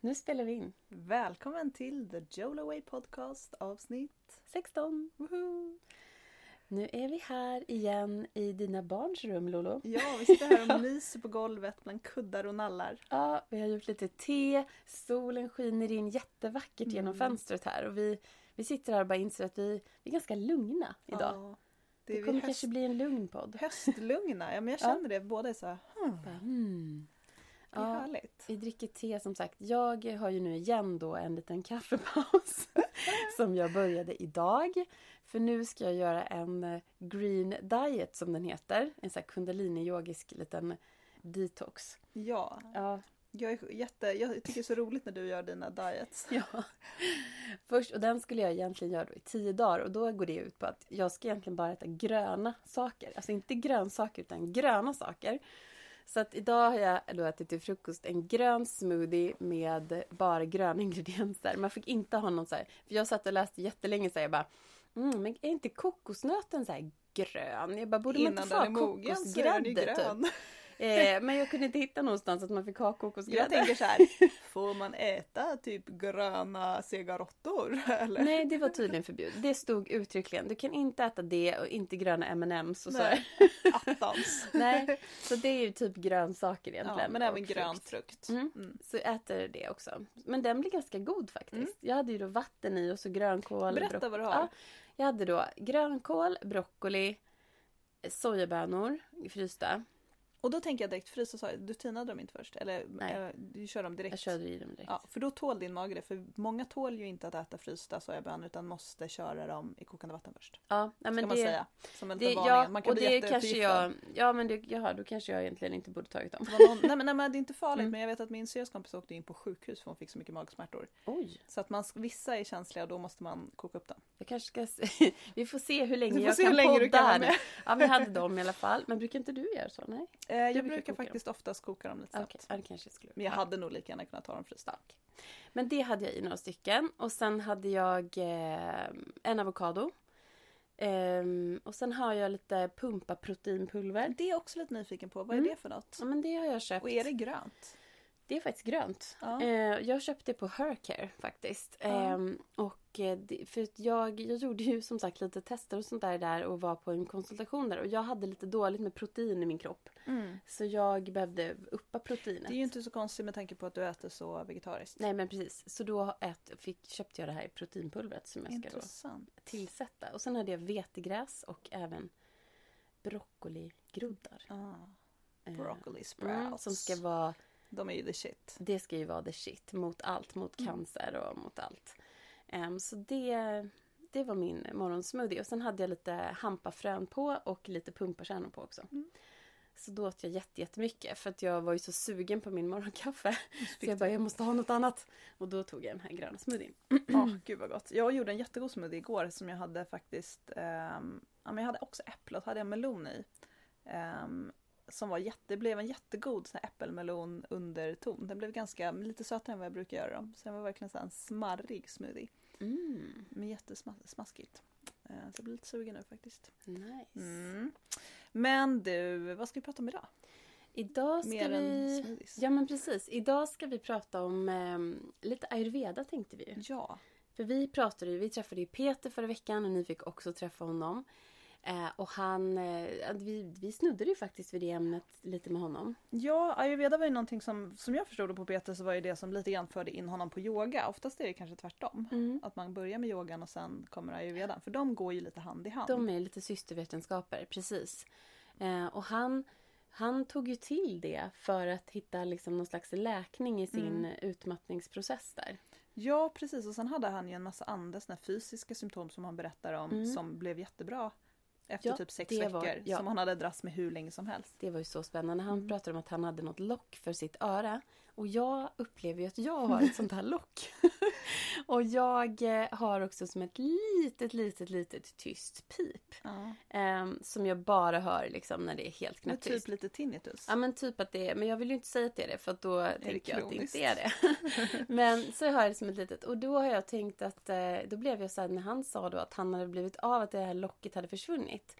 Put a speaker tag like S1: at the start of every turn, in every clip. S1: Nu spelar vi in.
S2: Välkommen till The Jolaway Podcast avsnitt
S1: 16.
S2: Woho!
S1: Nu är vi här igen i dina barns rum Lolo.
S2: Ja, vi sitter här och myser på golvet bland kuddar och nallar.
S1: Ja, vi har gjort lite te. Solen skiner in jättevackert genom
S2: Mm.
S1: fönstret här. Och vi, vi sitter här och bara inser att vi, vi är ganska lugna idag.
S2: Ja,
S1: det
S2: det är vi
S1: kommer
S2: höst,
S1: kanske bli en lugn podd.
S2: höstlugna. Ja, men jag
S1: Ja.
S2: känner det. Båda är så här, hmm,
S1: Bara, hmm.
S2: det är
S1: Ja,
S2: härligt.
S1: vi dricker te som sagt. Jag har ju nu igen då en liten kaffepaus. som jag började idag. För nu ska jag göra en eh, green diet som den heter. En sån här kundalini-yogisk liten detox.
S2: Ja,
S1: Ja,
S2: jag, är jätte, jag tycker det är så roligt när du gör dina diets.
S1: Ja. Först, och den skulle jag egentligen göra då i tio dagar och då går det ut på att jag ska egentligen bara äta gröna saker. Alltså inte grönsaker utan gröna saker. Så att idag har jag då ätit till frukost en grön smoothie med bara gröna ingredienser. Man fick inte ha någon så här, för jag satt och läste jättelänge så här, jag bara, mm, men är inte kokosnöten så här grön? Jag bara, borde man
S2: Innan
S1: inte
S2: den
S1: få
S2: är
S1: ha
S2: mogen så är den ju
S1: kokosgrädde
S2: grön.
S1: typ? Eh, men jag kunde inte hitta någonstans att man fick ha
S2: Jag
S1: kokosgrädde.
S2: tänker så här, får man äta typ gröna sega råttor? Eller?
S1: Nej, det var tydligen förbjudet. Det stod uttryckligen. Du kan inte äta det och inte gröna M&M's och så.
S2: Nej. Attans.
S1: Nej, så det är ju typ grönsaker egentligen.
S2: Ja, men även
S1: och
S2: grön
S1: frukt.
S2: frukt.
S1: Mm. Så jag äter det också. Men den blir ganska god faktiskt. Jag hade ju då vatten i och så grönkål.
S2: Mm. Berätta
S1: brock-
S2: vad du har.
S1: Ja, jag hade då grönkål, broccoli, sojabönor frysta.
S2: Och då tänker jag direkt, frysa sa du tinade dem inte först? Eller
S1: Nej.
S2: eh, du kör dem direkt?
S1: Jag körde i dem direkt.
S2: Ja, för då tål din mage det, för många tål ju inte att äta frysta sojabönor utan måste köra dem i kokande vatten först.
S1: Ja, nej,
S2: Ska
S1: men
S2: man
S1: det,
S2: säga. Som en
S1: Det,
S2: liten
S1: ja,
S2: varning. Man
S1: och
S2: kan bli
S1: det kanske
S2: jätteförgiftad.
S1: jag... Ja, men det, jaha, då kanske jag egentligen inte borde tagit dem.
S2: Det var någon, nej, men, nej men det är inte farligt
S1: Mm.
S2: men jag vet att min syrras kompis åkte in på sjukhus för hon fick så mycket magsmärtor.
S1: Oj.
S2: Så att man, vissa är känsliga och då måste man koka upp dem.
S1: Jag kanske ska se. Vi får se hur länge
S2: Du får
S1: jag
S2: se
S1: kan
S2: hur länge
S1: podda
S2: du kan vara
S1: här nu.
S2: med.
S1: Ja, men jag hade dem i alla fall. Men brukar inte du göra så? Nej?
S2: Eh, jag
S1: brukar
S2: brukar,
S1: koka
S2: faktiskt oftast koka dem lite
S1: Okej,
S2: snabbt.
S1: ja, det kanske jag skulle
S2: Men jag
S1: Ja.
S2: hade nog lika gärna kunnat ta dem frysta.
S1: Men det hade jag i några stycken. Och sen hade jag eh, en avokado. Ehm, och sen har jag lite pumpaproteinpulver.
S2: Det är jag också lite nyfiken på, vad är
S1: Mm.
S2: det för något?
S1: Ja, men det har jag köpt.
S2: Och är det grönt?
S1: Det är faktiskt grönt.
S2: Ja.
S1: Eh, jag köpte det på Hercare faktiskt.
S2: Ja.
S1: Ehm, och eh, det, för att jag, jag gjorde ju som sagt lite tester och sånt där, där och var på en konsultation där. Och jag hade lite dåligt med protein i min kropp. Så jag behövde uppa proteinet.
S2: Mm. Det är ju inte så konstigt med tanke på att du äter så vegetariskt.
S1: Nej men precis. Så då ät, fick, köpte jag det här proteinpulvret som jag ska då
S2: Intressant.
S1: tillsätta. Och sen hade jag vetegräs och även broccoligroddar.
S2: Ah,
S1: Eh,
S2: broccoli sprouts.
S1: Mm, som ska vara,
S2: De är ju the shit.
S1: det ska ju vara the shit mot allt, mot cancer och mot allt. Ehm, så det, det var min morgonsmoothie. Och sen hade jag lite hampafrön på och lite pumpakärnor på också. Så då åt jag jätte- jättemycket för att jag var ju så sugen på min morgonkaffe. Så jag bara, jag måste ha något annat. Och då tog jag den här gröna smoothien.
S2: Åh, Ah, gud vad gott. Jag gjorde en jättegod smoothie igår som jag hade faktiskt, ehm, ja, men jag hade också äpple och så hade jag melon i. Ehm, som var jätte, blev en jättegod sån här äppelmelon underton. Den blev ganska, lite sötare än vad jag brukar göra dem. Så den var verkligen så här en smarrig smoothie.
S1: Mm,
S2: Men jättesmaskigt. Eh, så jag blir lite sugen nu faktiskt.
S1: nice.
S2: Mm. Men du, vad ska vi prata om idag?
S1: Idag ska
S2: Mer än
S1: vi...
S2: smoothies.
S1: Ja men precis. Idag ska vi prata om ehm, lite ayurveda tänkte vi ju.
S2: Ja.
S1: För vi pratade ju, vi träffade ju Peter förra veckan och ni fick också träffa honom. Eh, och han, eh, vi, vi snuddade ju faktiskt vid det ämnet lite med honom.
S2: Ja, ayurveda var ju någonting som, som jag förstod det på Peter så var ju det som lite grann förde in honom på yoga. Oftast är det kanske tvärtom. Att man börjar med yogan och sen kommer ayurvedan. För de går ju lite hand i hand.
S1: De är lite systervetenskaper, precis. Eh, och han, han tog ju till det för att hitta liksom någon slags läkning i sin utmattningsprocess där.
S2: Ja, precis. Och sen hade han ju en massa andra såna här fysiska symptom som han berättar om som blev jättebra. Efter
S1: Mm. Ja,
S2: typ sex
S1: det
S2: veckor.
S1: var- ja.
S2: Som han hade dras med hur länge som helst.
S1: Det var ju så spännande. Han pratade om att han hade något lock för sitt öra. Och jag upplever ju att jag har ett sånt här lock. och jag eh, har också som ett litet, litet, litet tyst pip.
S2: Ja.
S1: Ehm, som jag bara hör liksom när det är helt
S2: Med
S1: knäpptyst.
S2: typ lite tinnitus.
S1: Ja men typ att det är, men jag vill ju inte säga att det är det för att då tänker jag att det
S2: kroniskt?
S1: inte är det. men så har jag det som ett litet, och då har jag tänkt att, eh, då blev jag såhär när han sa då att han hade blivit av att det här locket hade försvunnit.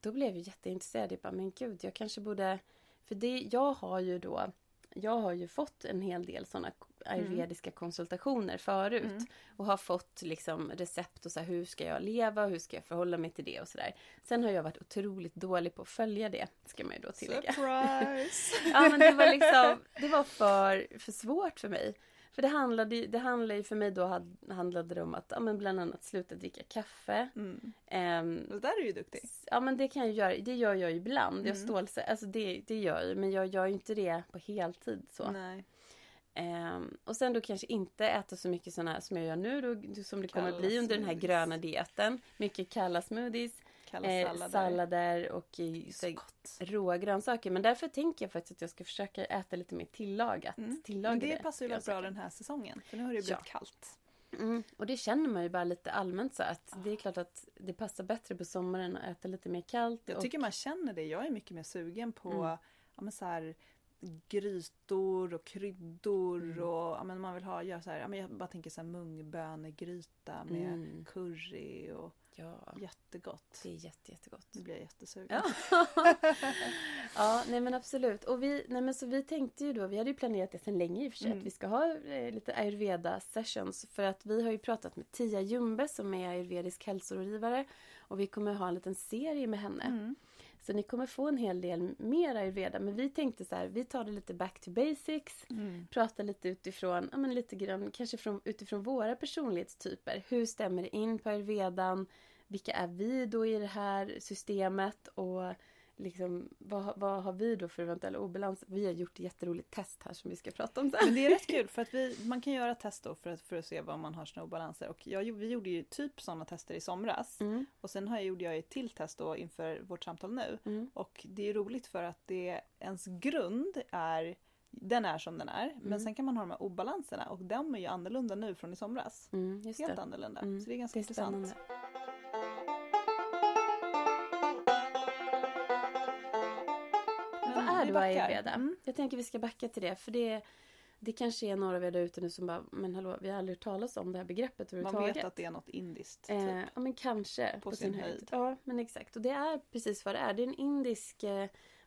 S1: Då blev jag jätteintresserad, jag bara men gud jag kanske borde, för det, jag har ju då jag har ju fått en hel del sådana ayurvediska konsultationer förut.
S2: Mm.
S1: Och har fått liksom recept och så här, hur ska jag leva och hur ska jag förhålla mig till det och sådär. Sen har jag varit otroligt dålig på att följa det, ska man ju då tillägga.
S2: Surprise!
S1: Ja men det var liksom, det var för, för svårt för mig. För det handlade ju, det handlade ju för mig då had- handlade det om att, ja men bland annat sluta dricka kaffe.
S2: Mm.
S1: Ehm,
S2: Det där är ju duktig.
S1: S- Ja men det kan jag göra, det gör jag ju ibland. Jag
S2: Mm.
S1: stålsä- alltså det, det gör jag ju men jag gör ju inte det på heltid så.
S2: Nej.
S1: Ehm, och sen då kanske inte äta så mycket sådana här som jag gör nu då, som det kommer
S2: Kalla
S1: bli under den här
S2: smoothies.
S1: gröna dieten. Mycket kalla smoothies,
S2: Kalla
S1: eh,
S2: sallader.
S1: sallader och eh, så
S2: Så
S1: här
S2: gott.
S1: råa grönsaker. Men därför tänker jag faktiskt att jag ska försöka äta lite mer tillagat.
S2: Mm. Men
S1: Tillagade
S2: det passar ju väldigt bra
S1: grönsaker.
S2: den här säsongen. För nu har det ju blivit kallt.
S1: Mm. Och det känner man ju bara lite allmänt så att
S2: Ah.
S1: det är klart att det passar bättre på sommaren att äta lite mer kallt.
S2: Jag
S1: och-
S2: tycker man känner det. Jag är mycket mer sugen på
S1: Mm.
S2: ja, men så här, grytor och kryddor
S1: Mm.
S2: och ja, men man vill ha, göra så här, ja, men jag bara tänker så här mungbönegryta med
S1: Mm.
S2: curry och
S1: Ja,
S2: jättegott.
S1: det är jätte, jättegott.
S2: Nu blir jag jättesugen.
S1: Ja. ja, nej men absolut. Och vi, nej men så vi tänkte ju då, vi hade ju planerat det sedan länge i och för sig,
S2: Mm.
S1: att vi ska ha eh, lite ayurveda sessions. För att vi har ju pratat med Tia Jumbe som är ayurvedisk hälsorådgivare. Och vi kommer ha en liten serie med henne.
S2: Mm.
S1: Så ni kommer få en hel del mer ayurveda. Men vi tänkte så här, vi tar det lite back to basics.
S2: Mm.
S1: Prata lite utifrån, ja men lite grann kanske från, utifrån våra personlighetstyper. Hur stämmer det in på ayurvedan? Vilka är vi då i det här systemet? Och liksom, vad, vad har vi då för eventuella obalans? Vi har gjort ett jätteroligt test här som vi ska prata om sen.
S2: Men det är rätt kul för att vi, man kan göra test då för att, för att se vad man har sina obalanser. Och jag, vi gjorde ju typ sådana tester i somras.
S1: Mm,
S2: Och sen har jag, gjorde jag ett till test då inför vårt samtal nu.
S1: mm,
S2: Och det är roligt för att det, ens grund är, den är som den är.
S1: Mm.
S2: Men sen kan man ha de här obalanserna och de är ju annorlunda nu från i somras.
S1: mm, just
S2: Helt
S1: det.
S2: annorlunda.
S1: Mm.
S2: Så det är ganska
S1: Det är
S2: intressant.
S1: spännande.
S2: Men
S1: Vad är
S2: vi
S1: då
S2: backar.
S1: ayurveda?
S2: Mm.
S1: Jag tänker vi ska backa till det för det, det kanske är några av er där ute nu som bara, men hallå, vi har aldrig hört talas om det här begreppet
S2: Man
S1: överhuvudtaget.
S2: vet att det är något indiskt.
S1: Eh,
S2: Typ.
S1: ja men kanske.
S2: På sin höjd.
S1: Ja men exakt. Och det är precis vad det är. Det är en indisk, eh,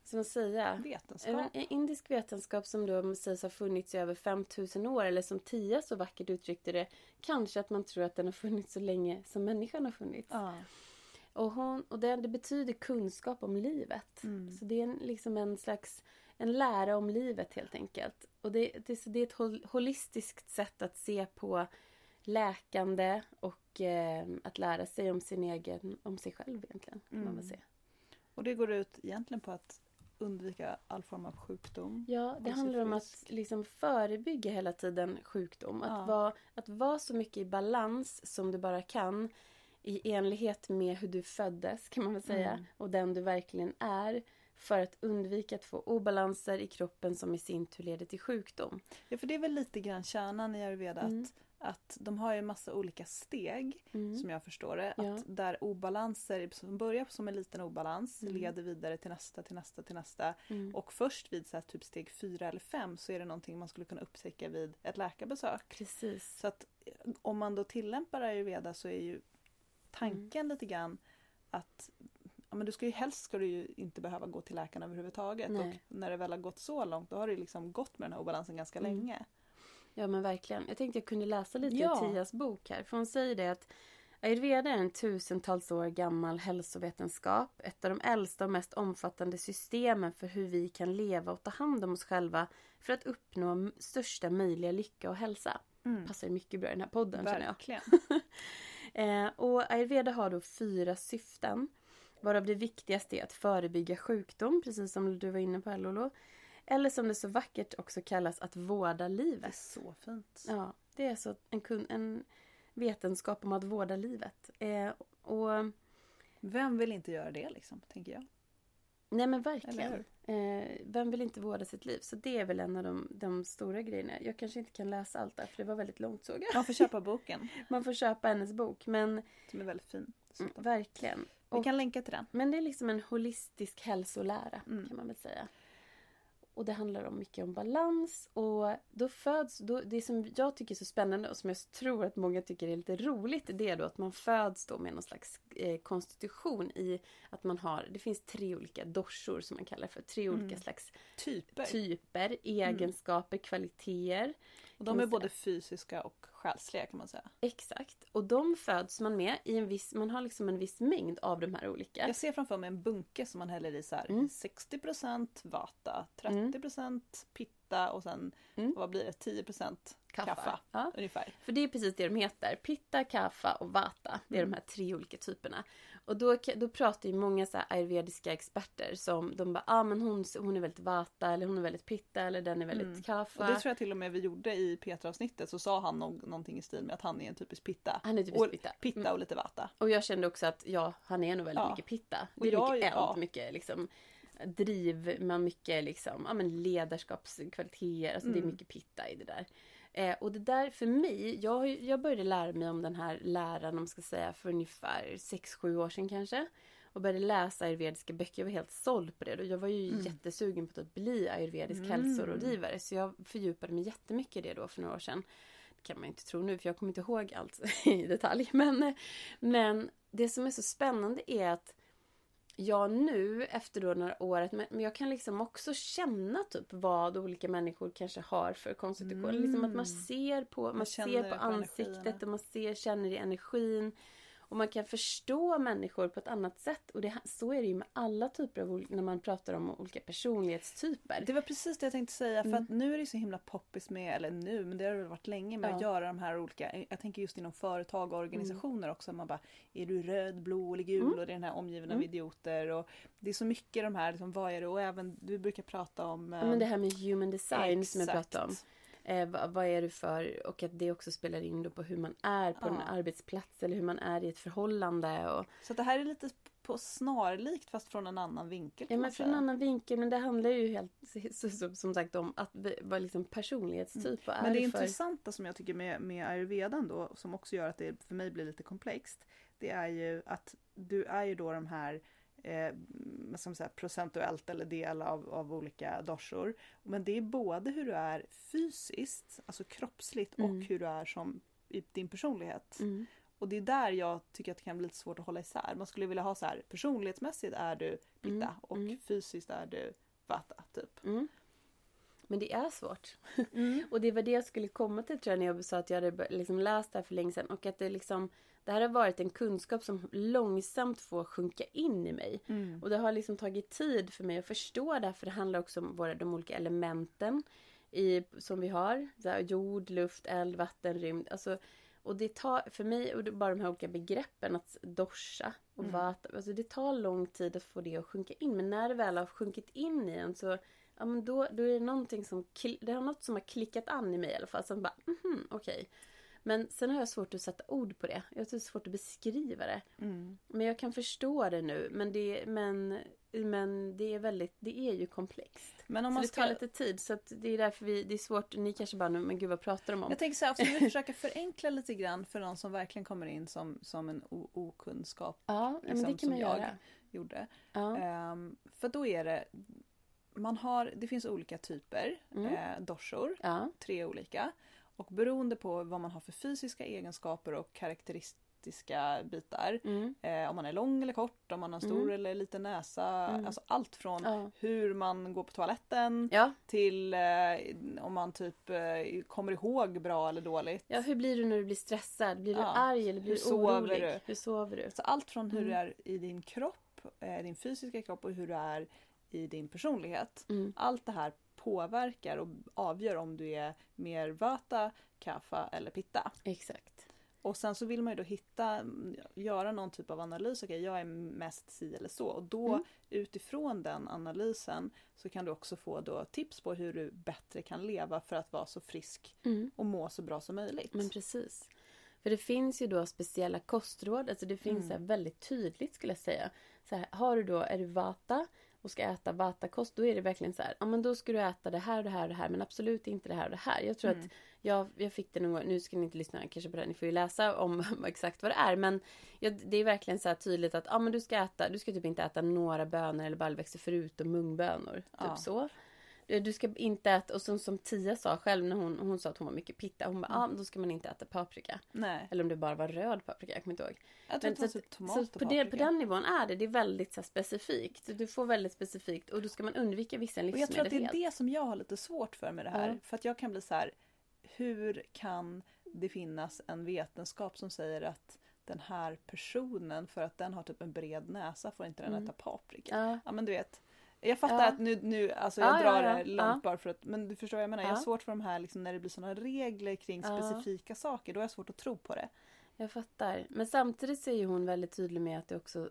S1: vad ska man säga? En,
S2: Vetenskap.
S1: en indisk vetenskap som då sägs ha funnits i över 5000 år. Eller som Tia så vackert uttryckte det. Kanske att man tror att den har funnits så länge som människan har funnits.
S2: Ja.
S1: Och, hon, och det, det betyder kunskap om livet.
S2: Mm.
S1: Så det är en, liksom en slags en lära om livet helt enkelt. Och det, det, så det är ett hol, holistiskt sätt att se på läkande och eh, att lära sig om sin egen, om sig själv egentligen. Kan man
S2: Mm.
S1: väl säga.
S2: Och det går ut egentligen på att undvika all form av sjukdom.
S1: Ja, det
S2: sig
S1: handlar om att
S2: frisk.
S1: liksom förebygga hela tiden sjukdom. Att,
S2: Ja.
S1: vara, att vara så mycket i balans som du bara kan i enlighet med hur du föddes kan man väl säga
S2: Mm.
S1: och den du verkligen är för att undvika att få obalanser i kroppen som i sin tur leder till sjukdom.
S2: Ja, för det är väl lite grann kärnan i ayurveda.
S1: Mm.
S2: Att, att de har ju massa olika steg
S1: Mm.
S2: som jag förstår det.
S1: Ja.
S2: Att där obalanser som börjar som en liten obalans
S1: Mm.
S2: leder vidare till nästa, till nästa, till nästa.
S1: Mm.
S2: Och först vid så här, typ steg fyra eller fem så är det någonting man skulle kunna upptäcka vid ett läkarbesök.
S1: Precis.
S2: Så att eh, om man då tillämpar ayurveda så är ju
S1: Mm.
S2: tanken lite grann att ja, men du ska ju, helst ska du ju inte behöva gå till läkaren överhuvudtaget.
S1: Nej.
S2: Och när det väl har gått så långt då har det liksom gått med den här obalansen ganska
S1: Mm.
S2: länge.
S1: Ja men verkligen. Jag tänkte jag kunde läsa lite
S2: Ja.
S1: ur Tias bok här. För hon säger det att ayurveda är en tusentals år gammal hälsovetenskap. Ett av de äldsta och mest omfattande systemen för hur vi kan leva och ta hand om oss själva för att uppnå m- största möjliga lycka och hälsa.
S2: Mm.
S1: Passar ju mycket bra i den här podden känner jag.
S2: Verkligen.
S1: Eh, och ayurveda har då fyra syften. Varav det viktigaste är att förebygga sjukdom, precis som du var inne på här Lolo. Eller som det så vackert också kallas, att vårda
S2: Det är
S1: livet.
S2: så fint.
S1: Ja, det är så en, kun, en vetenskap om att vårda livet. Eh, och,
S2: Vem vill inte göra det liksom, tänker jag.
S1: nej men
S2: Eller
S1: verkligen. Eh, vem vill inte vårda sitt liv? Så det är väl en av de, de stora grejerna. Jag kanske inte kan läsa allt där, för det var väldigt långt såg jag.
S2: Man får köpa boken
S1: Man får köpa hennes bok, men
S2: som är väldigt fin.
S1: mm, verkligen.
S2: Vi kan länka till den.
S1: Men det är liksom en holistisk hälsolära
S2: Mm.
S1: kan man väl säga. Och det handlar om mycket om balans och då föds, då, det som jag tycker är så spännande och som jag tror att många tycker är lite roligt, det är då att man föds då med någon slags eh, konstitution i att man har, det finns tre olika dorsor som man kallar för, tre
S2: Mm.
S1: olika slags
S2: Typer. Mm.
S1: typer, egenskaper, kvaliteter. kan
S2: och de är
S1: man
S2: både fysiska och själsliga kan man säga.
S1: Exakt. Och de föds man med i en viss, man har liksom en viss mängd av de här olika.
S2: Jag ser framför mig en bunke som man häller i så här
S1: Mm.
S2: 60% vata, 30% pitta och sen
S1: Mm.
S2: vad blir det, 10% kaffa,
S1: Ja.
S2: ungefär.
S1: För det är precis det de heter. Pitta, kaffa och vata. Det är de här tre olika typerna. Och då, ka- då pratar ju många så här ayurvediska experter som de bara, ah men hon, hon är väldigt vata eller hon är väldigt pitta eller den är väldigt
S2: Mm.
S1: kaffa.
S2: Och det tror jag till och med vi gjorde i Petra-avsnittet så sa han nog någonting i stil med att han är en typisk pitta.
S1: Han är typiskt
S2: och,
S1: pitta.
S2: pitta
S1: Mm.
S2: och lite vata.
S1: Och jag kände också att ja, han är nog väldigt
S2: Ja.
S1: mycket pitta.
S2: Och
S1: Det är
S2: jag-
S1: mycket eld,
S2: ja.
S1: mycket liksom driv, man mycket liksom, ja men ledarskapskvaliteter, alltså det är
S2: Mm.
S1: mycket pitta i det där. Eh, och det där för mig, jag, har ju- jag började lära mig om den här läran, om man ska säga, för ungefär 6-7 år sedan kanske. Och började läsa ayurvediska böcker, jag var helt såld på det. Och jag var ju
S2: Mm.
S1: jättesugen på att bli ayurvedisk
S2: Mm.
S1: hälsorådgivare. Så jag fördjupade mig jättemycket i det då för några år sedan. Det kan man ju inte tro nu för jag kommer inte ihåg allt i detalj. Men, men det som är så spännande är att jag nu efter då några år, att, men men jag kan liksom också känna typ vad olika människor kanske har för konstitution. Liksom att man
S2: Mm.
S1: ser på, man
S2: känner
S1: ser
S2: det
S1: på
S2: på
S1: ansiktet
S2: energierna.
S1: och man ser, känner i energin. Och man kan förstå människor på ett annat sätt. Och det, så är det ju med alla typer av, ol- när man pratar om olika personlighetstyper.
S2: Det var precis det jag tänkte säga för
S1: Mm.
S2: att nu är det så himla poppis med, eller nu, men det har det väl varit länge med att
S1: Ja.
S2: göra de här olika, jag tänker just inom företag och organisationer också, man bara är du röd, blå eller gul
S1: Mm.
S2: och det är den här omgiven av
S1: Mm.
S2: idioter och det är så mycket de här, liksom, vad är det och även du brukar prata om eh,
S1: Ja, men det här med human design som jag
S2: exakt.
S1: pratade om. Eh, vad, vad är du för? Och att det också spelar in då på hur man är på en
S2: Ja.
S1: arbetsplats eller hur man är i ett förhållande. Och,
S2: Så att det här är lite på snarlikt fast från en annan
S1: ja,
S2: vinkel kan
S1: men
S2: man
S1: från en
S2: säga.
S1: annan vinkel. Men det handlar ju helt så, så, som sagt om att vi- vara liksom personlighetstyp. Vad är
S2: Mm. Men det
S1: du för?
S2: intressanta som jag tycker med, med ayurvedan då, som också gör att det för mig blir lite komplext, det är ju att du är ju då de här eh, vad ska man säga, procentuellt eller del av, av olika dorsor. Men det är både hur du är fysiskt, alltså kroppsligt,
S1: Mm.
S2: och hur du är som i din personlighet.
S1: Mm.
S2: Och det är där jag tycker att det kan bli lite svårt att hålla isär. Man skulle vilja ha så här, personlighetsmässigt är du pitta
S1: Mm,
S2: och
S1: mm.
S2: fysiskt är du vata, typ.
S1: Mm. Men det är svårt. Och det var det jag skulle komma till tror jag när jag sa att jag hade bör- liksom läst det här för länge sedan. Och att det liksom, det här har varit en kunskap som långsamt får sjunka in i mig. Och det har liksom tagit tid för mig att förstå det här, för det handlar också om våra, de olika elementen i, som vi har. Så här, jord, luft, eld, vatten, rymd. Alltså, och det tar, för mig, och det, bara de här olika begreppen, att dosha och
S2: Mm.
S1: vata, alltså det tar lång tid att få det att sjunka in. Men när det väl har sjunkit in i en så, ja men då, då är det någonting som, kli- det har något som har klickat an i mig i alla fall. Som bara, mhm, okej. Men sen har jag svårt att sätta ord på det. Jag har så svårt att beskriva det.
S2: Mm.
S1: Men jag kan förstå det nu. Men det, men, men det är väldigt, det är ju komplext.
S2: Men om
S1: så
S2: man
S1: det
S2: ska...
S1: tar lite tid. Så att det är därför vi, det är svårt. Ni kanske bara, nu, men gud vad pratar de om?
S2: Jag tänker så här, ska vi försöka förenkla lite grann för någon som verkligen kommer in som, som en o- okunskap
S1: Ja, ja, men
S2: liksom,
S1: det kan man
S2: som jag.
S1: göra. Eh.
S2: gjorde.
S1: Ja.
S2: Ehm, för då är det, man har, det finns olika typer,
S1: Mm.
S2: eh, dorsor,
S1: Ja.
S2: tre olika. Och beroende på vad man har för fysiska egenskaper och karaktäristiska bitar,
S1: Mm.
S2: eh, om man är lång eller kort, om man har stor
S1: Mm.
S2: eller liten näsa,
S1: Mm.
S2: alltså allt från
S1: Ja.
S2: hur man går på toaletten
S1: Ja.
S2: till eh, om man typ eh, kommer ihåg bra eller dåligt.
S1: ja, hur blir du när du blir stressad? Blir du
S2: Ja.
S1: arg eller blir
S2: Hur
S1: du
S2: sover
S1: orolig?
S2: du?
S1: Hur sover du?
S2: Så allt från hur
S1: Mm.
S2: du är i din kropp, eh, din fysiska kropp och hur du är i din personlighet.
S1: Mm.
S2: Allt det här påverkar och avgör om du är mer vata, kaffa eller pitta.
S1: Exakt.
S2: Och sen så vill man ju då hitta, göra någon typ av analys. Okej, jag är mest si eller så. Och då
S1: Mm.
S2: utifrån den analysen så kan du också få då tips på hur du bättre kan leva för att vara så frisk
S1: Mm.
S2: och må så bra som möjligt.
S1: Men precis. För det finns ju då speciella kostråd, alltså det finns
S2: Mm.
S1: så här väldigt tydligt skulle jag säga. Så här, har du då, är du vata och ska äta vatakost, då är det verkligen så här, ja men då ska du äta det här och det här och det här, men absolut inte det här och det här. Jag tror
S2: Mm.
S1: att jag, jag fick det någon gång, nu ska ni inte lyssna kanske på det, här, ni får ju läsa om exakt vad det är, men jag, det är verkligen så här tydligt att, ja men du ska äta, du ska typ inte äta några bönor eller baljväxter förutom mungbönor, typ
S2: Ja.
S1: så. eh, Du ska inte äta, och som, som Tia sa själv när hon, hon sa att hon var mycket pitta. Hon bara, ja ah,
S2: Mm.
S1: men då ska man inte äta paprika.
S2: Nej.
S1: Eller om det bara var röd paprika, jag kommer inte ihåg.
S2: Jag tror
S1: Men
S2: att det var
S1: så
S2: typ tomat och
S1: så på, det, på
S2: paprika.
S1: den nivån är det. Det är väldigt så här, specifikt. Du får väldigt specifikt och då ska man undvika vissa
S2: Och
S1: livsmedel
S2: jag tror att det är
S1: Liksom helt.
S2: det som jag har lite svårt för med det här.
S1: Ja.
S2: För att jag kan bli så här, hur kan det finnas en vetenskap som säger att den här personen, för att den har typ en bred näsa, får inte den
S1: Mm.
S2: äta paprika?
S1: Ja.
S2: Ja men du vet. Jag fattar
S1: Ja.
S2: att nu, nu alltså jag
S1: Ja, ja,
S2: drar
S1: ja.
S2: det långt bara för att, men du förstår vad jag menar. Jag har
S1: Ja.
S2: svårt för de här liksom, när det blir sådana regler kring
S1: Ja.
S2: specifika saker, då har jag svårt att tro på det.
S1: Jag fattar. Men samtidigt så är ju hon väldigt tydlig med att det också